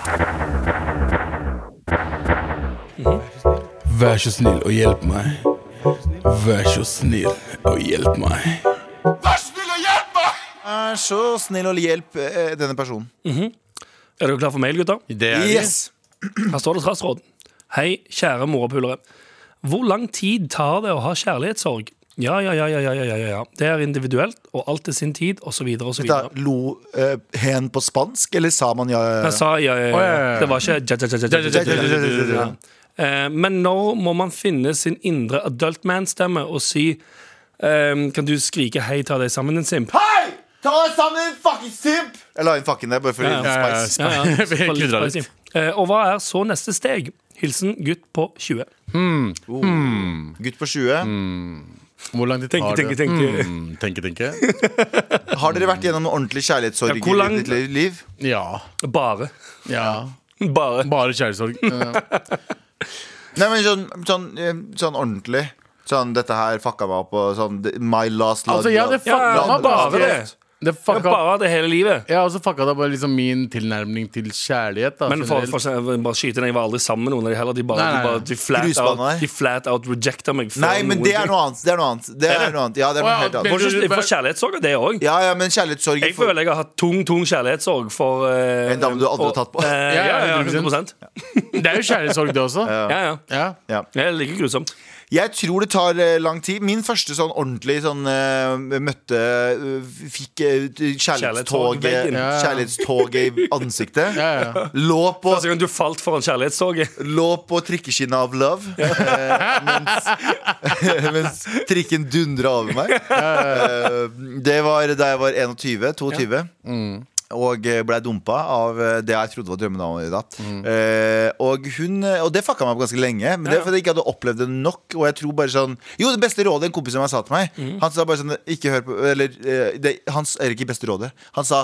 Vær så snill og hjelp meg. Vær så snill og hjelp meg. Vær så snill og hjelp eh, denne personen. Er dere klare for mail, gutter? Yes! Her står det trassråd. Hei, kjære morapulere. Hvor lang tid tar det å ha kjærlighetssorg? Ja, ja, ja, ja, ja, ja, ja, ja. Det er individuelt, og alt til sin tid, osv., osv. Da, lo eh, hen på spansk, eller sa man ja? ja, Jeg ja? sa ja, ja, ja, ja, ja. ja. Det var ikke ja, ja, ja, ja, ja, ja, ja, ja, ja, ja. Eh, Men når må man finne sin indre adult man-stemme og si ehm, Kan du skrike 'hei, ta deg sammen, din simp'? Hei! Ta deg sammen, din fuckings simp! Jeg la inn fucken der bare for å gi ja, ja. spice. Ja, ja. Jeg vil Litt ikke dra dit. spicy. Eh, Og hva er så neste steg? Hilsen gutt på 20. Gutt på 20. Hvor lang tid Tenke, tar tenke, det? tenke. Mm, tenke, tenke. Har dere vært gjennom ordentlig kjærlighetssorg Ja, hvor lang- i ditt liv? Ja. Bare. ja. Bare. Bare kjærlighetssorg. Eh, Nei, men sånn, sånn, eh, sånn ordentlig. Sånn, dette her fucka meg opp, og sånn det- My last love. Altså, ja, det Ja, fucka meg bare bare. det. Det fucka Bare det hele livet. Jeg har også fucka det bare liksom min tilnærming til kjærlighet. Da, Men for, generelt. for, bare skyte inn, jeg var aldri sammen med noen av de heller. De bare, Nei, nei, de nei. bare de flat, Grusbane, out, nei. de flat out rejecta meg. før Nei, men noen det er ting. noe annet. Det er noe annet. Det er noe annet. Ja, det er Å, noe ja, helt det- annet. For, for kjærlighetssorg er det òg. Ja, ja, men kjærlighetssorg Jeg føler jeg har hatt tung tung kjærlighetssorg for eh, En dame du aldri har og- tatt på. Eh, ja, ja, ja, 100%. 100 Det er jo kjærlighetssorg, det også. Ja, ja. Ja. ja. Det er like grusomt. Jeg tror det tar eh, lang tid. Min første sånn ordentlig sånn eh, møtte eh, Fikk eh, Kjærlighetstog i kjærlighetstoget veggen. Ja, ja. Kjærlighetstoget i ansiktet. Ja, ja, ja. Lå på Første gang du falt foran kjærlighetssorget. Lå på trikkeskinnet av love eh, mens, mens trikken dundra over meg. Eh, det var da jeg var 21. 22. Og eh, blei dumpa av eh, det jeg trodde var drømmedama mi da. Eh, og, hun, eh, og det fucka meg opp ganske lenge. Men det er fordi jeg ikke hadde opplevd det nok. Og jeg tror bare sånn Jo, det beste rådet en kompis av meg sa til meg Han sa bare sånn Ikke hør på Eller eh, det, hans, eller ikke beste rådet. Han sa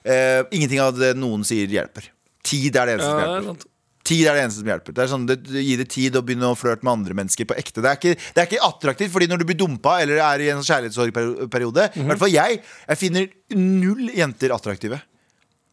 eh, ingenting av det noen sier, hjelper. Tid er det eneste som Ja, hjelper. sant. Tid er det eneste som hjelper. Det er sånn, det, det gir det tid å begynne å flørte med andre mennesker på ekte. Det er ikke, det er ikke attraktivt, fordi når du blir dumpa eller er i en sånn kjærlighetssorgperiode I Mhm. hvert fall jeg. Jeg finner null jenter attraktive.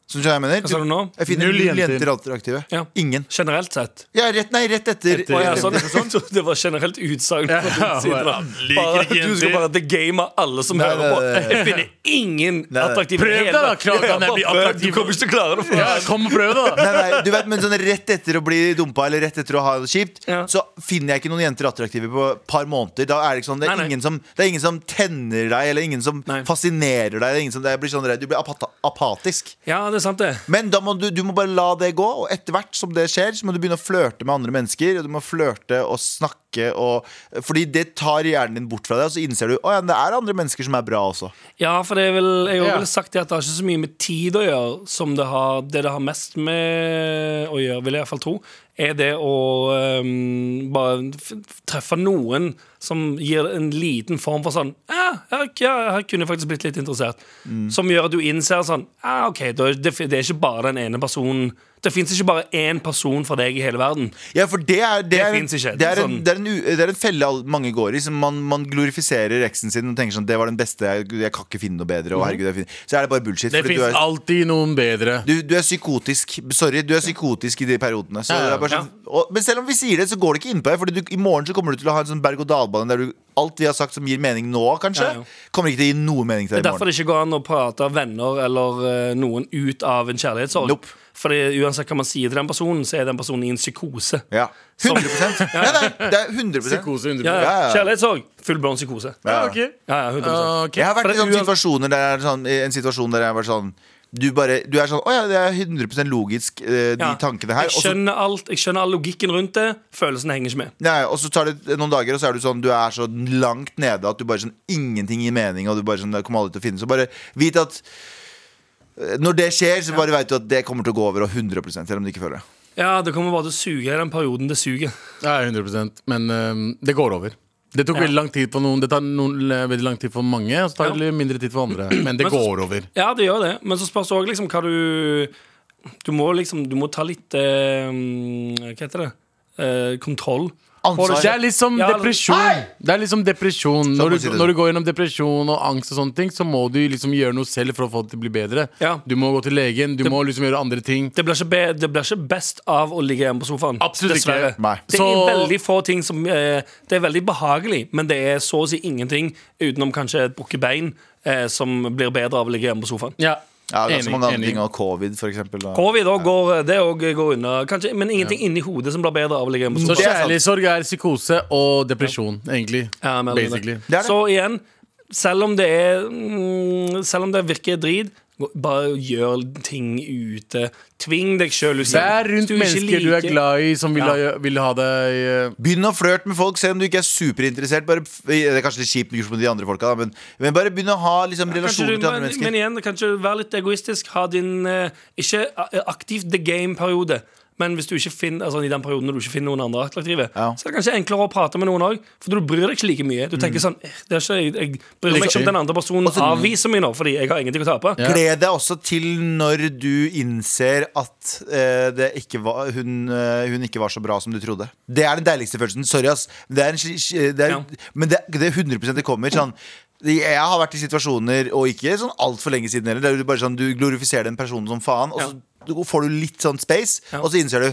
Som skjønner jeg mener? Hva sa du nå? Jeg finner Null null jenter, jenter. attraktive. Ja. Ingen. Generelt sett. Ja, rett, nei, rett etter. Etter- Å, ja, rett sånn. etter. Så det var generelt utsagn. fra din Ja, side, da. bare, liker Bare- ikke Du skal jenter. bare degame alle som Nei, hører på. nei, nei, nei. Jeg finner ingen nei. attraktive Prøv hele- deg da, Krakan, Ja, jeg blir bare prøv. attraktiv. Du kommer ikke til å klare det. For. ja, kom og prøv, da. Nei, nei, du vet, men sånn Rett etter å bli dumpa eller rett etter å ha det kjipt, Ja. så finner jeg ikke noen jenter attraktive på et par måneder. Da er det, ikke sånn, det, er Nei, nei. Ingen som, det er ingen som tenner deg, eller ingen som Nei. fascinerer deg. Det er ingen som, det blir sånn, redd. du blir apata apatisk. Ja, det er sant, det. Men da må du, du må bare la det gå, og etter hvert som det skjer, så må du begynne å flørte med andre mennesker. Og du må flørte og snakke og Fordi det tar hjernen din bort fra deg, og så innser du at ja, men det er andre mennesker som er bra også. Ja, for det er vel, jeg har Ja. vel sagt det at det har ikke så mye med tid å gjøre som det har, det det har mest med å gjøre, vil jeg iallfall tro, er det å ehm, bare f- treffe noen som gir en liten form for sånn Ja, her, ja, her kunne jeg faktisk blitt litt interessert. Som gjør at du innser sånn Ja, OK, da, det, det er ikke bare den ene personen. Det fins ikke bare én person for deg i hele verden. Ja, for det er, det Det er, finnes ikke. det er, en, Sånn- det er, en, u- det er en felle all- mange går i. Som man, man glorifiserer eksen sin og tenker sånn Det var den beste, jeg, jeg kan ikke finne noe bedre. Mhm. Og herregud, jeg finner. Så er det bare bullshit. Det fordi du fins er- alltid noen bedre. du, du er psykotisk Sorry, du er psykotisk i de periodene. Så Ja, ja, det er bare sånn, og, men selv om vi sier det, så går det ikke inn på deg. Fordi du, i morgen så kommer du til å ha en sånn berg-og-dal-bane der du, alt vi har sagt som gir mening nå, kanskje, Ja, ja. kommer ikke til å gi noe mening til deg Det er i derfor morgen. det ikke går an å prate venner eller eh, noen ut av en kjærlighetssorg. Nope. Fordi uansett hva man sier til den personen, så er den personen i en psykose. Ja. 100 Nei, nei, det er 100 Psykose 100 Ja, ja. Ja, Ah, ja. Kjærlighetssorg. Full blown psykose. Ja, Ja, ok. ja, 100 Ja, ok. Jeg har For vært i det er sånne uan- situasjoner der jeg er sånn, i en situasjon der jeg har vært sånn du, bare, du er sånn Å ja, det er 100 logisk, eh, de ja. tankene her. Og Jeg så, skjønner alt, jeg skjønner all logikken rundt det. Følelsen henger ikke med. nei, og så tar det noen dager, og så er du sånn Du er så langt nede at du bare sånn ingenting gir mening, og du bare sånn Det kommer aldri til å finnes. Så bare vit at eh, når det skjer, så bare vet du at det kommer til å gå over, og 100 selv om du ikke føler det. Ja, det kommer bare til å suge i den perioden det suger. Ja, 100 Men eh, det går over. Det tok veldig lang tid for noen, det tar noen, eh, veldig lang tid for mange, og så tar det litt mindre tid for andre. Men det Men så- går over. Ja, det gjør det, men så spørs det òg liksom hva du Du må liksom Du må ta litt eh, Hva heter det? Eh, kontroll. Ansvar. Det er litt som Ja, depresjon. Det er litt som depresjon Sånn når å si du, det. når du går gjennom depresjon og angst, og sånne ting så må du liksom gjøre noe selv for å få det til å bli bedre. Ja. Du må gå til legen, du må liksom gjøre andre ting. Det blir, ikke be, det blir ikke best av å ligge hjemme på sofaen. Absolutt ikke. dessverre. Nei. Det er Så- veldig få ting som eh, Det er veldig behagelig, men det er så å si ingenting utenom kanskje et brukket bein eh, som blir bedre av å ligge hjemme på sofaen. Ja, Ja, det er så mange andre ting av covid, for eksempel. da. Covid også går, eh, det òg går unna, kanskje, men ingenting inni hodet som blir bedre av å ligge hjemme på Så sofaen. Det er sant. kjærlighetssorg er psykose og depresjon, egentlig. Ja, men- Basically. Det er det. Så igjen, selv om det er mm, Selv om det virker drit, gå- bare gjør ting ute. Tving deg sjøl ut. Vær rundt mennesker du er glad i, som vil, ha, vil ha deg eh, Begynn å flørte med folk, se om du ikke er superinteressert. Bare, f- det er kanskje litt kjipt med de andre folka, da, men, men bare begynn å ha liksom, Kanskje relasjoner du, til andre men, mennesker. men igjen, kanskje vær litt egoistisk. Ha din eh, ikke a- aktivt the game-periode. Men hvis du ikke finner, altså i den perioden når du ikke finner noen andre attraktive, Ja. Mm. så er det kanskje enklere å prate med noen òg. For du bryr deg ikke like mye. Du tenker sånn eh, det er ikke, jeg, jeg bryr meg Liksom. ikke om den andre personen avviser meg nå, fordi jeg har ingenting å tape. Ja. Gled deg også til når du innser at eh, det ikke var, hun, eh, hun ikke var så bra som du trodde. Det er den deiligste følelsen. Sorry, ass. Det er en, sli- sli- det er, Ja. Men det, det er 100 det kommer. Sånn, jeg har vært i situasjoner, og ikke sånn altfor lenge siden heller, der du bare sånn, du glorifiserer den personen som faen, og Ja. så du- får du litt sånn space, Ja. og så innser du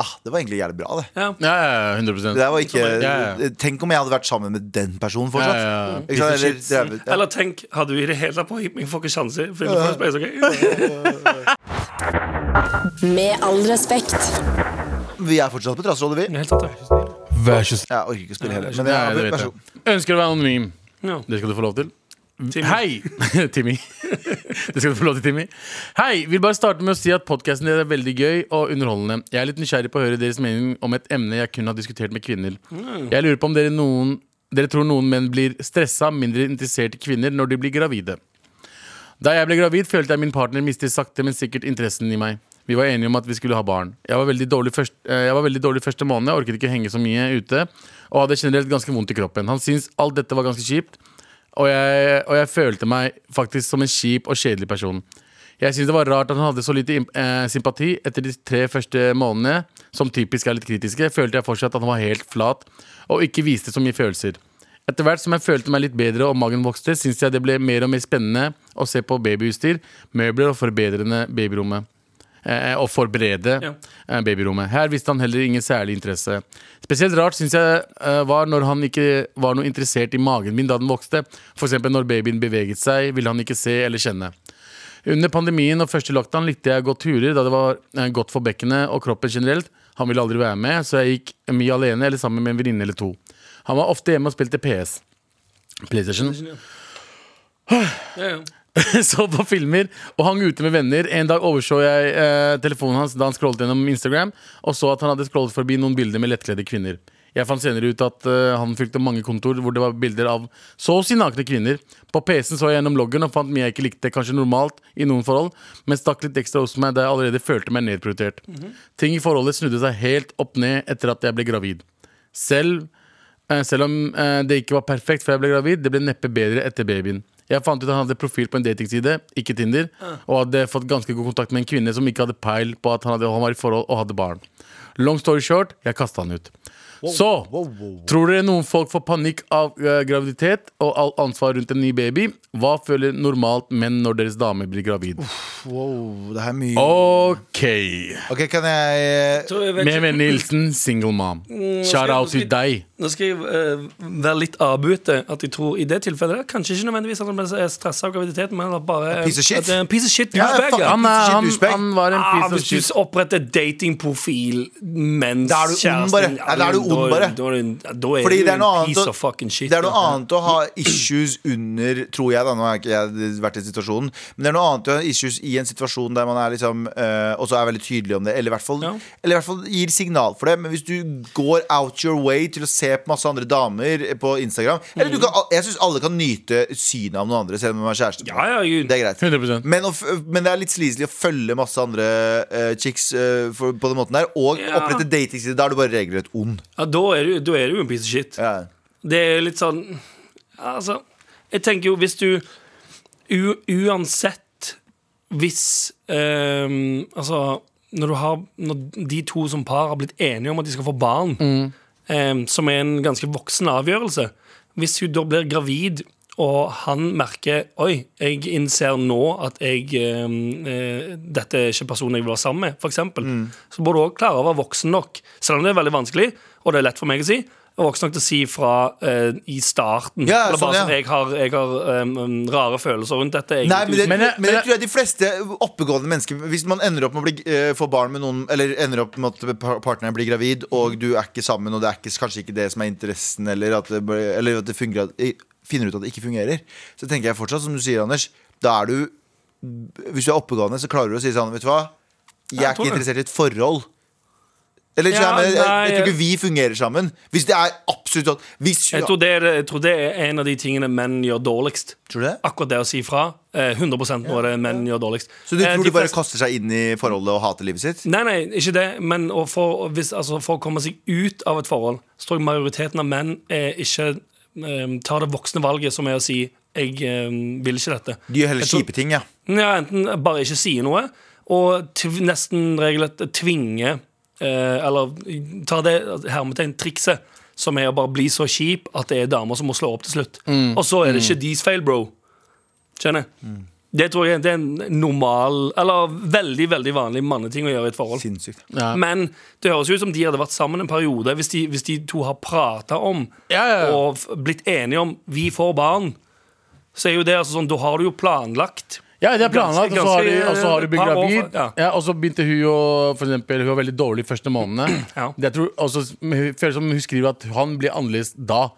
ah, det var egentlig jævlig bra, det. Ja. Ja, ja, 100 det der var ikke, Ja, ja. Tenk om jeg hadde vært sammen med den personen Ja, fortsatt. ja, ja. Ikke sant? Eller, drevet- ja. Eller tenk, hadde du i det hele tatt pågitt meg, får ikke sjanser. For jeg får space, ok? Med all respekt. Vi er fortsatt på Trasserådet, vi. Helt tatt, ja. Vær så snill. Jeg orker ikke å spille heller. Men Nei, det jeg, vet vær så jeg. god. Ønsker å være anonym. Ja. Det skal du få lov til. Timmy. Hei! Timmy. det skal du få lov til, Timmy. Hei! Vil bare starte med å si at podkasten deres er veldig gøy og underholdende. Jeg er litt nysgjerrig på å høre deres mening om et emne jeg kun har diskutert med kvinner. Jeg lurer på om dere, noen, dere tror noen menn blir stressa, mindre interessert i kvinner når de blir gravide. Da jeg ble gravid, følte jeg min partner mistet sakte, men sikkert interessen i meg. Vi var enige om at vi skulle ha barn. Jeg var veldig dårlig, først, eh, jeg var veldig dårlig første måned, orket ikke henge så mye ute, og hadde generelt ganske vondt i kroppen. Han syntes alt dette var ganske kjipt, og jeg, og jeg følte meg faktisk som en kjip og kjedelig person. Jeg syntes det var rart at han hadde så lite imp- eh, sympati etter de tre første månedene, som typisk er litt kritiske, følte jeg fortsatt at han var helt flat og ikke viste så mye følelser. Etter hvert som jeg følte meg litt bedre og magen vokste, syntes jeg det ble mer og mer spennende å se på babyutstyr, møbler og forbedrende babyrommet. Eh, og forberede Ja. eh, babyrommet. Her viste han heller ingen særlig interesse. Spesielt rart syns jeg eh, var når han ikke var noe interessert i magen min da den vokste. F.eks. når babyen beveget seg, ville han ikke se eller kjenne. Under pandemien og første lockdown likte jeg å gå turer da det var eh, godt for bekkenet og kroppen generelt. Han ville aldri være med, så jeg gikk mye alene eller sammen med en venninne eller to. Han var ofte hjemme og spilte PS. PlayStation. Ja, ja. så på filmer og hang ute med venner. En dag overså jeg eh, telefonen hans da han scrollet gjennom Instagram, og så at han hadde scrollet forbi noen bilder med lettkledde kvinner. Jeg fant senere ut at eh, han fulgte mange kontor hvor det var bilder av så å si nakne kvinner. På PC-en så jeg gjennom loggen og fant mye jeg ikke likte, kanskje normalt i noen forhold, men stakk litt ekstra hos meg da jeg allerede følte meg nedprioritert. Ting i forholdet snudde seg helt opp ned etter at jeg ble gravid. Selv Eh, Selv om eh, det ikke var perfekt før jeg ble gravid, det ble neppe bedre etter babyen. Jeg fant ut at han hadde profil på en datingside, ikke Tinder, Ah. og hadde fått ganske god kontakt med en kvinne som ikke hadde peil på at han, hadde, han var i forhold og hadde barn. Long story short, jeg kasta han ut. Så tror dere noen folk får panikk av eh, graviditet og all ansvar rundt en ny baby? Hva føler normalt menn når deres dame blir gravid? Wow, det her er mye Ok. Ok, kan jeg eh, Så jeg vet ikke- Meven Nilsen, single mom. Mm, Shout out til deg. Nå skal jeg eh, være litt avbøte. At jeg tror i det tilfellet der, Kanskje ikke nødvendigvis at han ble stressa av graviditeten, men at bare Piece of shit. At, det er en piece of shit Ja, douchebag, fuck, ja. Han, er- Piece of shit, han, douchebag. han var en Ah, piece of hvis shit. du oppretter datingprofil mens Da er du ond, kjæresten- bare. Ja, da er du ond, da- bare. Da, er du- da er Fordi du det er en noe annet piece å- of fucking shit. altså. det er noe ja. annet å ha issues under, tror jeg da, nå har ikke jeg vært i situasjonen Men det er noe annet å ha issues i i en situasjon der man er liksom eh, Og så er veldig tydelig om det, eller i, hvert fall, Ja. eller i hvert fall gir signal for det. Men hvis du går out your way til å se på masse andre damer på Instagram Eller du Mm. kan, Jeg syns alle kan nyte synet av noen andre, selv om man er kjæreste. med Ja, ja, noen. Gud. det er greit. 100% Men, å f- men det er litt sleazy å følge masse andre eh, chicks eh, for, på den måten der. Og Ja. opprette datingsider. Da er du bare regelrett ond. Ja, da er du, da er du en piece of shit. Ja. Det er litt sånn Altså, jeg tenker jo hvis du u, Uansett hvis ehm, Altså, når du har Når de to som par har blitt enige om at de skal få barn, Mm. ehm, som er en ganske voksen avgjørelse Hvis hun da blir gravid, og han merker Oi, jeg innser nå at jeg ehm, eh, Dette er ikke personen jeg vil være sammen med, f.eks. Mm. Så må du òg klare å være voksen nok, selv om det er veldig vanskelig, og det er lett for meg å si. og Voksen nok til å si fra eh, i starten. Ja, eller sånn, bare ja. sånn, jeg har, jeg har ehm, rare følelser rundt dette. Jeg, Nei, men det, Men men, eh, jeg- men det jeg- tror jeg de fleste oppegående mennesker Hvis man ender opp med å bli, eh, få barn med noen Eller ender opp med at par- partneren blir gravid Og Mm. du er ikke sammen Og det er ikke, kanskje ikke det som er interessen Eller at det, ble- eller at det fungerer, eh, finner ut at det ikke fungerer Så tenker jeg fortsatt, som du sier Anders Da er du Hvis du er oppegående så klarer du å si sånn Vet du hva? Jeg Jeg er tror ikke det. interessert i et forhold eller, Ja, jeg, jeg, jeg, nei, tror ikke vi fungerer sammen Hvis det er absolutt sånn hvis, jeg, tror det er, jeg tror det er en av de tingene menn gjør dårligst. Tror du det? Akkurat det å si fra. eh, 100 nå er det menn gjør dårligst. Så du Eh, tror de du bare fleste- kaster seg inn i forholdet og hater livet sitt? Nei, nei, ikke det. Men å få- hvis, altså, for å komme seg ut av et forhold, så tror jeg majoriteten av menn eh, ikke eh, tar det voksne valget, som er å si 'jeg eh, vil ikke dette'. De gjør heller Jeg tror- kjipe ting, ja Ja, Enten bare ikke sier noe, og tv nesten regelrett tvinge eh, Eller ta det hermetegn trikset, som er å bare bli så kjip at det er damer som må slå opp til slutt. Mm. Og så er det ikke deres feil, bro. Skjønner? Det tror jeg det er en normal, eller veldig veldig vanlig manneting å gjøre i et forhold. Sinnssykt ja. Men det høres ut som de hadde vært sammen en periode hvis de, hvis de to har prata om Ja, ja, ja. og f- blitt enige om 'vi får barn', så er jo det altså sånn, da har du jo planlagt. Ja, det er planlagt, Ganske- og så har du- og så har du ganske- blitt par år, gravid. ja. Ja, og så begynte hun å for eksempel, Hun var veldig dårlig de første månedene. Ja. Det jeg tror, og så hun føler som hun skriver at han blir annerledes da.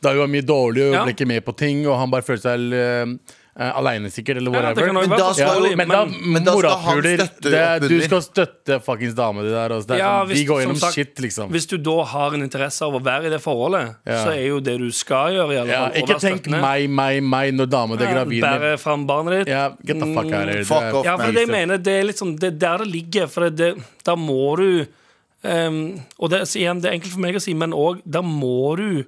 Da hun var mye dårlig og Ja. ble ikke med på ting, og han bare følte seg uh, aleine sikkert, eller Ja, det whatever. kan nok Men være da skal- forståelig, men da, men da skal han morapuler, støtte det- opp Du under. skal støtte fuckings damene dine der. Altså. Det er Ja, sånn, hvis- de går som gjennom sagt, shit, liksom. Hvis du da har en interesse av å være i det forholdet, Ja. så er jo det du skal gjøre. I alle ja, fall, å ikke være tenk støttende. meg, meg, meg når dama di er Ja, gravid. med- Bære fram barnet ditt. Ja, get the fuck out of here. Mm, Fuck Det er- off, Ja, for det jeg man. mener, det er litt sånn- det er der det ligger. For det, det, der må du ehm, Og det, så igjen, det er enkelt for meg å si, men òg der må du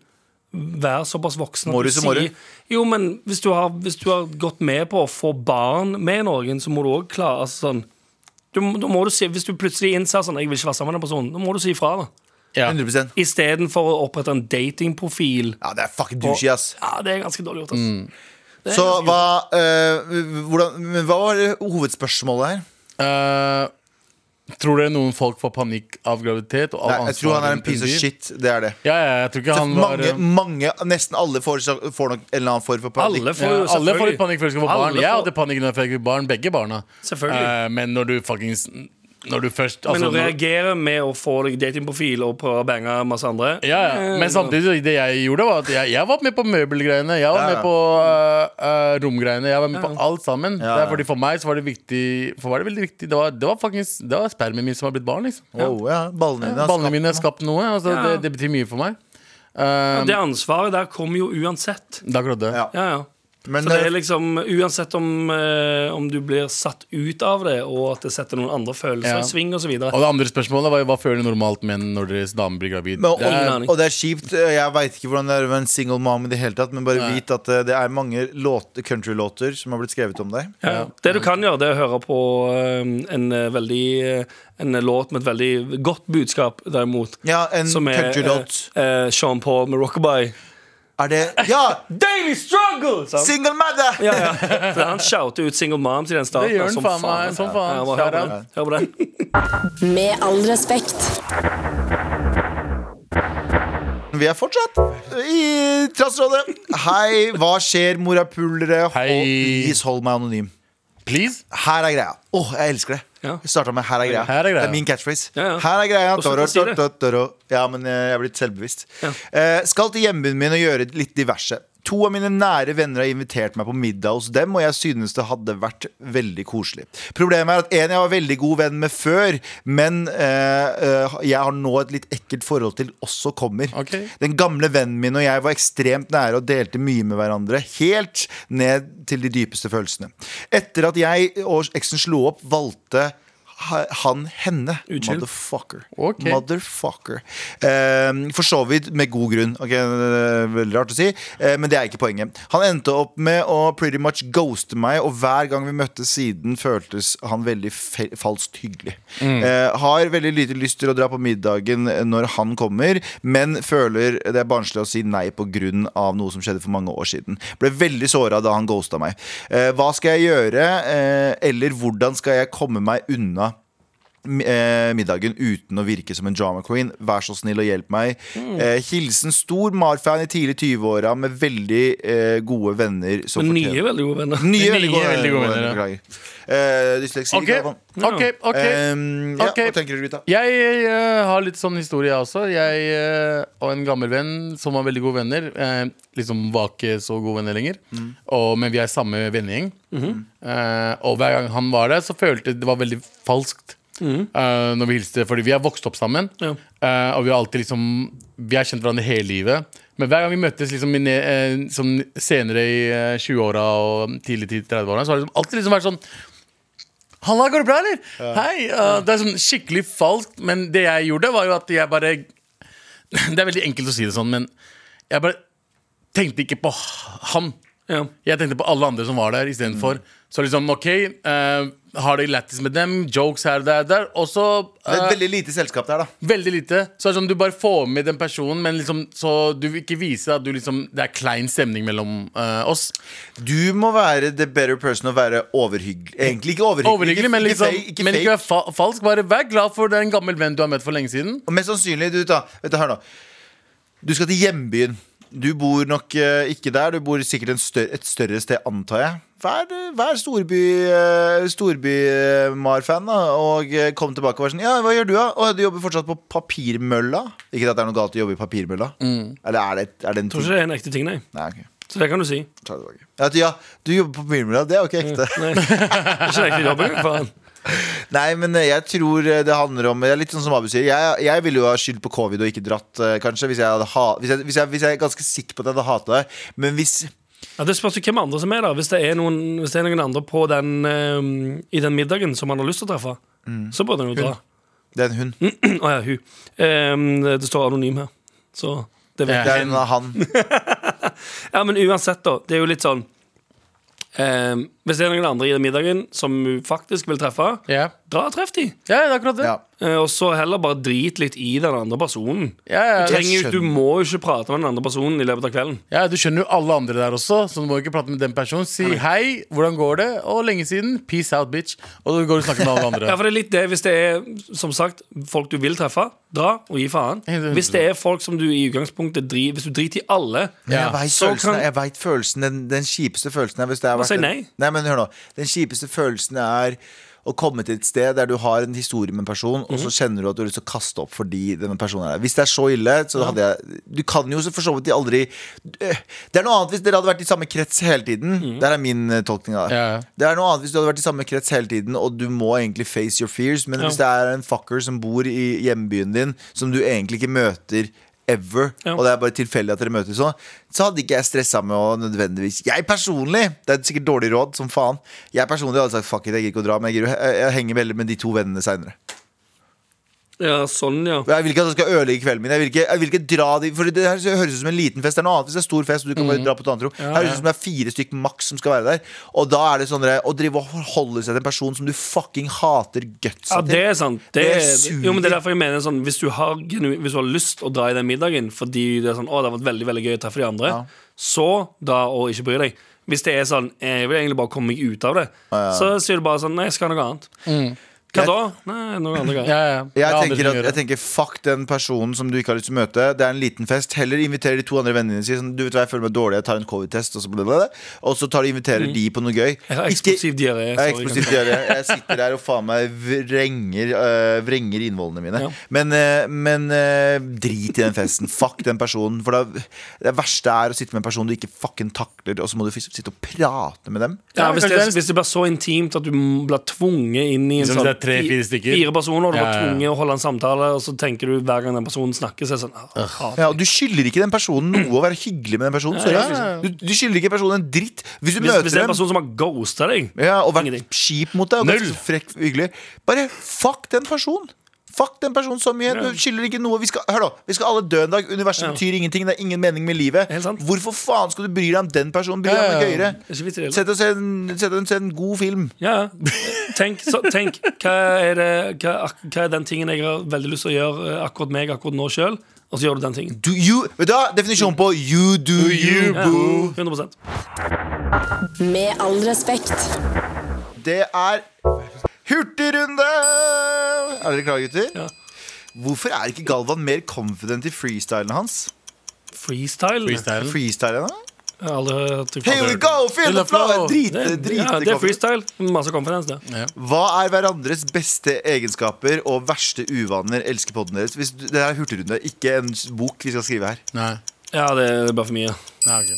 være såpass voksen at Må du, så må du. sier- Jo, men hvis du, har, hvis du har gått med på å få barn med noen, så må du òg klare altså, sånn du, må- da må du si, Hvis du plutselig innser sånn, jeg vil ikke være sammen med den personen, da må du si ifra. da. Ja. 100% Istedenfor å opprette en datingprofil. Ja, det er fucking douchey, ass Ja, det er ganske dårlig gjort. altså. ass. Mm. Det er Så ganske- hva, eh, hvordan, men hva var hovedspørsmålet her? Eh, tror dere noen folk får panikk av graviditet? Og av Nei, jeg tror han er ansvaret en piece of under? shit, det er det Ja, ja, jeg tror ikke han var eh, eh, mange, mange, nesten alle får, får nok en eller annen form for panikk Alle får ja, jo alle får litt selvfølgelig- panikk før de skal få Alle barn. Jeg får- hadde panikk når jeg fikk barn, begge barna. Selvfølgelig. Eh, men når du fuckings Når du først altså, Men å når- reagere med å få deg datingprofil og prøve å bange masse andre ja, ja. Eh, Men samtidig, det jeg gjorde, var at jeg, jeg var med på møbelgreiene. Jeg var Ja, ja. med på eh, eh, romgreiene. Jeg var med på alt sammen. Ja, ja. Det er fordi For meg så var det viktig For var det veldig viktig Det var, det var faktisk Det var spermen min som har blitt barn, liksom. Wow, Oh, ja, ballene dine har Ballene skapt mine noe. har skapt noe. Altså, Ja. det, det betyr mye for meg. Eh, Det ansvaret der kommer jo uansett. det er akkurat det. Ja. Ja, ja. Men Så det er eh, liksom Uansett om, eh, om du blir satt ut av det, og at det setter noen andre følelser Ja. i sving osv. Og det andre spørsmålet var jo, hva føler normalt menn når deres dame blir gravid? men, og, det er, aning. og det er kjipt, eh, jeg vet ikke hvordan det er å være en single mom i det hele tatt Men bare Nei. vit at eh, det er mange låt, countrylåter som har blitt skrevet om deg Ja. Det du kan gjøre, det er å høre på eh, en, eh, veldig, eh, en låt med et veldig godt budskap, derimot. Ja, en Som er eh, countrylåt eh, Sean Paul med Rockabye. Er det, ja, Daily struggle! sant? single mother Ja, ja. For han shouter ut single moms i den starten. Det gjør han som faen meg, som faen. Ja, bare hør, på Shout den. hør på den. Med all respekt. Vi er fortsatt i Trassrådet. Hei, hva skjer, morapulere? Hei. Og please hold meg anonym. please? Her er greia. Åh, jeg elsker det. Ja. Jeg starta med 'her er greia'. Her er greia. Det er min catchphrase. Ja, ja. Her er greia. Og så kan du si det. Ja, men eh, jeg er blitt selvbevisst. Eh, skal til hjembyen min og gjøre litt diverse. To av mine nære venner har invitert meg på middag hos dem, og jeg synes det hadde vært veldig koselig. Problemet er at en jeg var veldig god venn med før, men eh, eh, jeg har nå et litt ekkelt forhold til, også kommer. Ok. Den gamle vennen min og jeg var ekstremt nære og delte mye med hverandre, helt ned til de dypeste følelsene. Etter at jeg og eksen slo opp, valgte ha- han henne. Unnskyld? Motherfucker. Ok. Motherfucker. Eh, for så vidt med god grunn. Ok, det er Veldig rart å si, eh, men det er ikke poenget. Han endte opp med å pretty much ghoste meg, og hver gang vi møttes siden, føltes han veldig fe falskt hyggelig. Eh, har veldig lite lyst til å dra på middagen når han kommer, men føler det er barnslig å si nei på grunn av noe som skjedde for mange år siden. Ble veldig såra da han ghosta meg. Eh, hva skal jeg gjøre, eh, eller hvordan skal jeg komme meg unna? eh, middagen uten å virke som en drama queen. Vær så snill og hjelp meg. Eh, hilsen stor Mar-fan i tidlig 20-åra med veldig eh, gode venner. Som Men fortjener- nye er veldig gode venner. nye, Nye, veldig gode, veldig gode venner. venner, ja. Beklager. Eh, dysleksi. OK, Galvan. OK. ok Ehm, ja, Ok. Hva tenker dere, gutta? Jeg eh, har litt sånn historie, jeg også. Jeg eh, og en gammel venn som var veldig gode venner. eh, liksom var ikke så gode venner lenger. Og, men vi er samme vennegjeng. Eh, og hver gang han var der, så følte jeg det var veldig falskt. eh, når vi hilste, fordi vi har vokst opp sammen. Ja. eh, og vi har alltid liksom Vi har kjent hverandre hele livet. Men hver gang vi møttes liksom i, ne- eh, som senere i eh, 20-åra og tidlig tid 30-åra, så har det liksom alltid liksom vært sånn Halla, går det bra, eller? Hei. uh, det er sånn skikkelig falskt, men det jeg gjorde, var jo at jeg bare Det er veldig enkelt å si det sånn, men jeg bare tenkte ikke på han. Ja. Jeg tenkte på alle andre som var der Mm. istedenfor. Så liksom, OK, uh, har det lættis med dem, jokes her og der, der. Og så uh, Det er et veldig lite selskap der, da. Veldig lite. Så det er sånn, Du bare får med den personen, men liksom, så du vil ikke vise at du liksom, det er klein stemning mellom uh, oss. Du må være the better person og være overhyggelig. Egentlig ikke overhyggelig. Overhyggelig, men, liksom, fake- ikke men fake. ikke vær fa falsk. Bare vær glad for det er en gammel venn du har møtt for lenge siden. Og mest sannsynlig, du, da, vet du, hør nå Du skal til hjembyen Du bor nok eh, ikke der Du bor sikkert en stør- et større sted, antar jeg Vær, vær storby, eh, storby eh, Mar-fan da Og eh, kom tilbake og var sånn Ja, hva gjør du da? Å, du jobber fortsatt på papirmølla Ikke at det er noe galt å jobbe i papirmølla Eller er det, er det en ting? Tror ikke det er en ekte ting, nei. Nei, ok Så det kan du si. Det Ta det tilbake ja, du, ja, du jobber på papirmølla, det er jo ikke ekte er ikke en ekte jobb, engang, faen. Nei, men eh, jeg tror eh, det handler om Det er litt sånn som Abu sier. Jeg, jeg ville jo ha skyld på covid og ikke dratt, eh, kanskje. Hvis jeg, hadde ha, hvis, jeg, hvis, jeg, hvis jeg er ganske sikker på at jeg hadde hata deg. Men hvis Ja, det spørs jo hvem andre som er der. Hvis det er noen, hvis det er noen andre på den, eh, i den middagen som han har lyst til å treffe, så burde han jo dra. det er en hund, Å ja, hun. Eh, det- det står anonym her. Så det vet Ja. det er en han. Ja, men uansett, da. Det er jo litt sånn eh, Hvis det er noen andre i den middagen som hun faktisk vil treffe, Ja, dra og treff de. ja det er akkurat det. Ja. Eh, og så heller bare drit litt i den andre personen. Ja, Du, ja, ja. trenger, jo- du må jo ikke prate med den andre personen i løpet av kvelden. ja, Du skjønner jo alle andre der også, så du må ikke prate med den personen. Si hei, hvordan går det? Og lenge siden. Peace out, bitch. Og så går du og snakker med alle Ja, andre. for det er litt det Hvis det er som sagt folk du vil treffe, dra og gi faen. Hvis det er folk som du i utgangspunktet dri, Hvis du driter i alle Men Ja. jeg veit Så følelsen, kan- jeg vet følelsen den, den kjipeste følelsen er hvis det har Hva vært sier en- nei? nei, men hør nå. Den kjipeste følelsen er å komme til et sted der du har en historie med en person, og Mhm. så kjenner du at du har lyst til å kaste opp fordi denne personen er der. Hvis det er så ille, så hadde jeg Du kan jo så for så vidt aldri Eh, Det er noe annet hvis dere hadde vært i samme krets hele tiden. Mhm. Der er min eh, tolkning av det. Ja. Det er noe annet hvis du hadde vært i samme krets hele tiden, og du må egentlig face your fears, men Ja. hvis det er en fucker som bor i hjembyen din, som du egentlig ikke møter ever, Ja. og det er bare tilfeldig at dere møtes sånn, så hadde ikke jeg stressa med å nødvendigvis Jeg personlig, det er sikkert dårlig råd som faen, jeg personlig hadde sagt fuck it, jeg gidder ikke å dra, men jeg, gidder, jeg, jeg henger veldig med de to vennene seinere. Ja, sånn, ja. Jeg vil ikke at det skal ødelegge kvelden min. Jeg vil ikke, jeg vil ikke dra de, for Det her høres ut som en liten fest. Det er noe annet hvis det er stor fest. Og du kan Mm. bare dra på et annet rom Her høres det ut som det er fire stykk maks som skal være der. Og da er det sånn dere, å drive og forholde seg til en person som du fucking hater gutsa Ja, det er sant. Det Det er, suger. jo, men det er derfor jeg mener sånn Hvis du har, genu- hvis du har lyst å dra i den middagen fordi det er sånn, å, det har vært veldig veldig gøy å treffe de andre, Ja. så da og ikke bry deg. Hvis det er sånn eh, Jeg vil egentlig bare komme meg ut av det, så sier du bare sånn Nei, jeg skal ha noe annet. Hva da? Nei, noen andre greier. Ja, ja. Jeg Jeg har andre tenker, ting å at, gjøre. jeg tenker Fuck den personen som du ikke har lyst til å møte. Det er en liten fest. Heller inviter de to andre vennene dine. og Si sånn, du vet hva, jeg føler meg dårlig, jeg tar en covid-test. Og så, blablabla. og så tar de inviterer de på noe gøy. Mm. Jeg har eksplosiv diaré. Jeg, sorry, er eksplosiv kanskje. diaré. jeg sitter der og faen meg vrenger, øh, vrenger innvollene mine. Ja. Men, øh, men øh, drit i den festen. Fuck den personen. For da, det verste er å sitte med en person du ikke fucking takler, og så må du f- sitte og prate med dem. Ja, hvis, det, Kanskje det er- hvis det blir så intimt at du m- blir tvunget inn i en Liksom sånn det er tre, fi- fire stykker. fire personer, og du Ja, blir ja, ja. tvunget å holde en samtale, og så tenker du hver gang den personen snakker, så er det sånn ah, hat. Ja, og Du skylder ikke den personen noe å være hyggelig med den personen. Sorry. Ja, ja, ja. Du, du skylder ikke personen en dritt. Hvis du hvis, møter hvis det er en dem person som har ghosta deg ja, og vært Ingenting. kjip mot deg og Null. ganske frekk og hyggelig. Bare fuck den personen. Fuck den personen så mye. Du skylder ikke noe. Vi skal, hør da, vi skal alle dø en dag. Universet betyr ingenting. Det er ingen mening med livet. Helt sant. Hvorfor faen skal du bry deg om den personen? Bry deg Ja, om det ja, ja. gøyere. Det er ikke vits i det, eller? Sett og se en, sett og se en god film. Ja, ja. tenk, så, tenk hva, er det, hva, ak- hva er den tingen jeg har veldig lyst til å gjøre eh, akkurat meg akkurat nå sjøl, og så gjør du den tingen. Do you, vet du hva? Definisjonen på you do you, Ja, boo. 100 Med all respekt. Det er hurtigrunde! Er dere klare, gutter? Ja. Hvorfor er ikke Galvan mer confident i freestylen hans? Freestyle? Freestyle. Freestylen, da? Jeg har aldri hørt Here we go, feel the flow! Drit, Det, er- drit, ja, det er freestyle. Masse confidence, det. Hva er hverandres beste egenskaper og verste uvaner? Elsker podden deres. Hvis, du- det er hurtigrunde, ikke en s- bok vi skal skrive her. Nei. Ja, det er bare for mye. Nei, ok.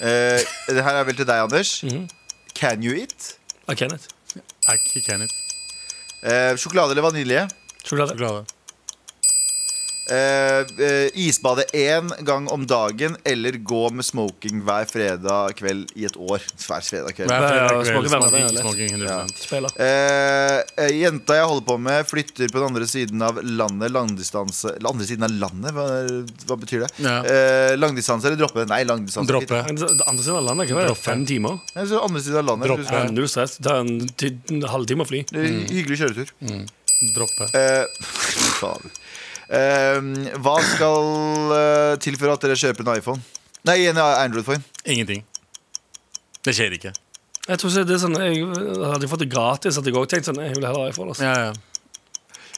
Eh, det her er vel til deg, Anders. Mhm. Can you eat? Av Kenneth. I c- can it. Eh, sjokolade eller vanilje? Sjokolade. Sjokolade. Eh, eh, isbade én gang om dagen eller gå med smoking hver fredag kveld i et år. Hver fredag kveld. Hver Ja, fredag kveld, smaker venner, det smoking, er lett. smoking 100%. Spiller. Eh, eh, jenta jeg holder på med, flytter på den andre siden av landet. Langdistanse eller Andre siden av landet? Hva, hva betyr det? Ja. Eh, langdistanse eller droppe? Nei, langdistanse. Droppe. Men Det det andre siden av landet, hva er det? Droppe. Fem timer? Nei, så andre siden av landet. Droppe. Mm. Droppe. Ja. Null stress. Ta en, ti- en halvtime å fly. Hyggelig kjøretur. Droppe. Eh, faen. Eh, hva skal eh, til for at dere kjøper en iPhone? Nei, en Android-phone. Ingenting. Det skjer ikke. Jeg tror så det er sånn, jeg, Hadde jeg fått det gratis, hadde jeg også tenkt sånn Jeg vil heller ha iPhone. Altså. Ja, ja.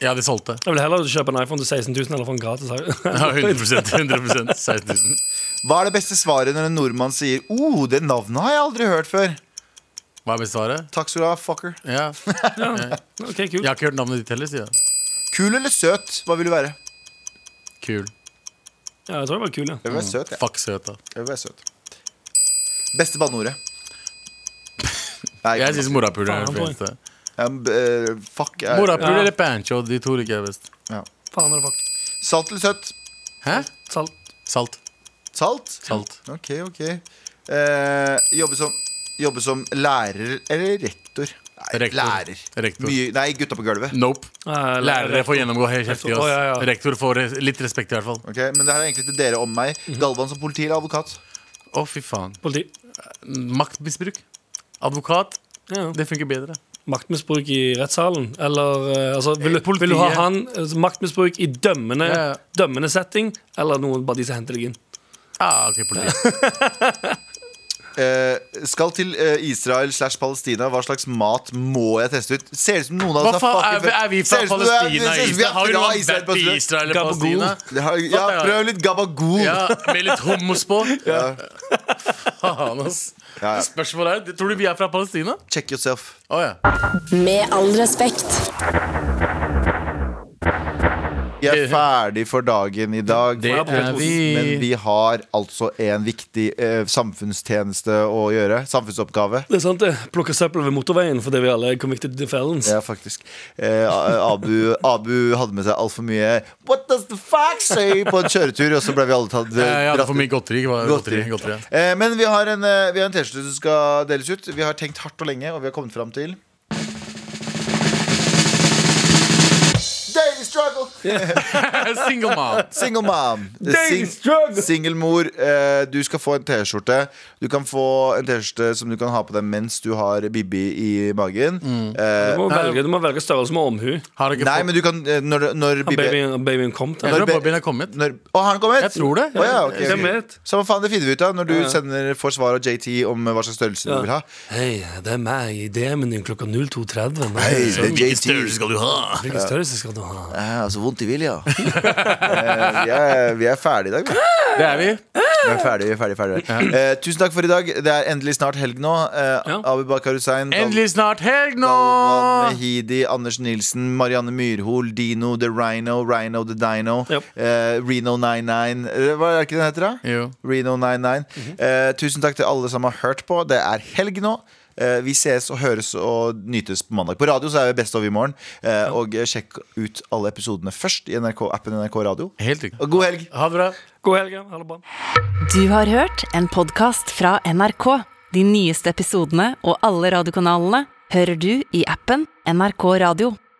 Ja, de solgte. Jeg vil heller kjøpe en iPhone til 16 000 eller få en gratis. Ja, 100 100 16 000. Hva er det beste svaret når en nordmann sier 'Å, oh, det navnet har jeg aldri hørt før'? Hva er best svaret? Takk skal du ha, fucker. Ja. Ok, Jeg kult. har ikke hørt navnet ditt heller, sier jeg. Kul eller søt? Hva vil du være? Kul. Ja, jeg tror jeg var kul, ja. Jeg vil være søt, jeg. Fuck søt, da. Jeg vil være søt. Beste banneordet? Nei, Jeg syns morapuler er Faen, det Antoine. fineste. um, eh, Fuck er, Morapuler Ja. eller pancho, de to liker jeg best. Faen eller fuck. Salt eller søtt? Hæ? Salt. Salt. Salt? Salt. Ok, ok eh, jobbe, som, jobbe som lærer eller rektor? Nei, Rektor. lærer Rektor. Mye, Nei, gutta på gulvet Nope. Ja, eller- Lærere får gjennomgå helt heftig. Å, ja, ja. ass. Rektor får res- litt respekt, i hvert fall. Ok, Men det her er egentlig til dere om meg Mhm. Galvan som politi eller advokat Å, fy faen. Politi. Maktmisbruk. Advokat. Ja. Det funker bedre. Maktmisbruk i rettssalen. Eller eh, altså, vil, du- Politiet. vil du ha han altså, maktmisbruk i dømmende, Ja, ja. dømmende setting, eller noen bare de som henter deg inn? Ah, ok, politi. eh, Skal til eh, Israel slash Palestina Hva slags mat må jeg teste ut? Ser ut som noen av Hva oss faen, er, vi- er vi Altså, fra Ser ut som du er- Palestina? ser ut som vi er Israel? Har vi fra noe Israel, annet i Palestina. Israel eller Gabagool. Palestina? Det har- Ja, Fatt, ja. prøv litt gabagool Ja, med litt hummus på. Ja. Faen, ass. Ja, ja. Spørsmålet er, tror du vi er fra Palestina? Check yourself Å ja. Med all respekt. Vi er ferdig for dagen i dag. Eh, Det er vi. Men vi har altså en viktig eh, samfunnstjeneste å gjøre. Samfunnsoppgave. Det er sant, det. Plukke søppel ved motorveien fordi vi alle er convicted felons. Ja, faktisk. Eh, A- Abu, Abu hadde med seg altfor mye What does the fuck say? på en kjøretur, og så ble vi alle tatt Eh, Jeg hadde dratt for mye godteri. hva- Godteri. godteri, godteri ja. Eh, Men vi har en eh, vi har en T-skjorte som skal deles ut. Vi har tenkt hardt og lenge, og vi har kommet fram til Daily struggle Single mom. Single mom. Daily struggle. Singelmor. eh, Du skal få en T-skjorte. Du kan få en T-skjorte som du kan ha på deg mens du har Bibi i magen. Eh, Du må velge, du må velge størrelse med omhu. Har ikke nei, fått men du kan eh, Når, når Har Bibi babyen, babyen kom Jeg til tror Når- babyen er kommet. når, Å, har han kommet? Jeg tror det. Å, ja, ok, ok. Hvem vet? Samme faen, det finner vi ut av når du ja. sender får svar av JT om eh, hva slags størrelse du vil ha. Hei, det er meg i DM-en din klokka 02.30. Hva er Hei, det det er som- JT. skal du ha? Hvilken størrelse skal du ha? Ja, så vondt i vilja. Eh, vi, er, vi er ferdige i dag, vi. Det er vi. Vi er ferdige, vi er ferdige, ferdige. Eh, tusen takk for i dag. Det er endelig snart helg nå. Eh, Ja. Abu Bakar Hussein, Dal- Endelig snart helg nå! Dalman Mehidi, Anders Nilsen, Marianne Myrhol, Dino The Rhino, Rhino The Dino, Yep. eh, Reno 99 eh, Hva er det ikke den heter, da? Jo. Reno 99. eh, tusen takk til alle som har hørt på. Det er helg nå. Eh, vi ses og høres og nytes på mandag. På radio så er vi best over i morgen. Eh, Og eh, sjekk ut alle episodene først i NRK-appen NRK Radio. Helt riktig. Og god helg! Ha det bra. God helg, ja. ha det bra. Du har hørt en podkast fra NRK. De nyeste episodene og alle radiokanalene hører du i appen NRK Radio.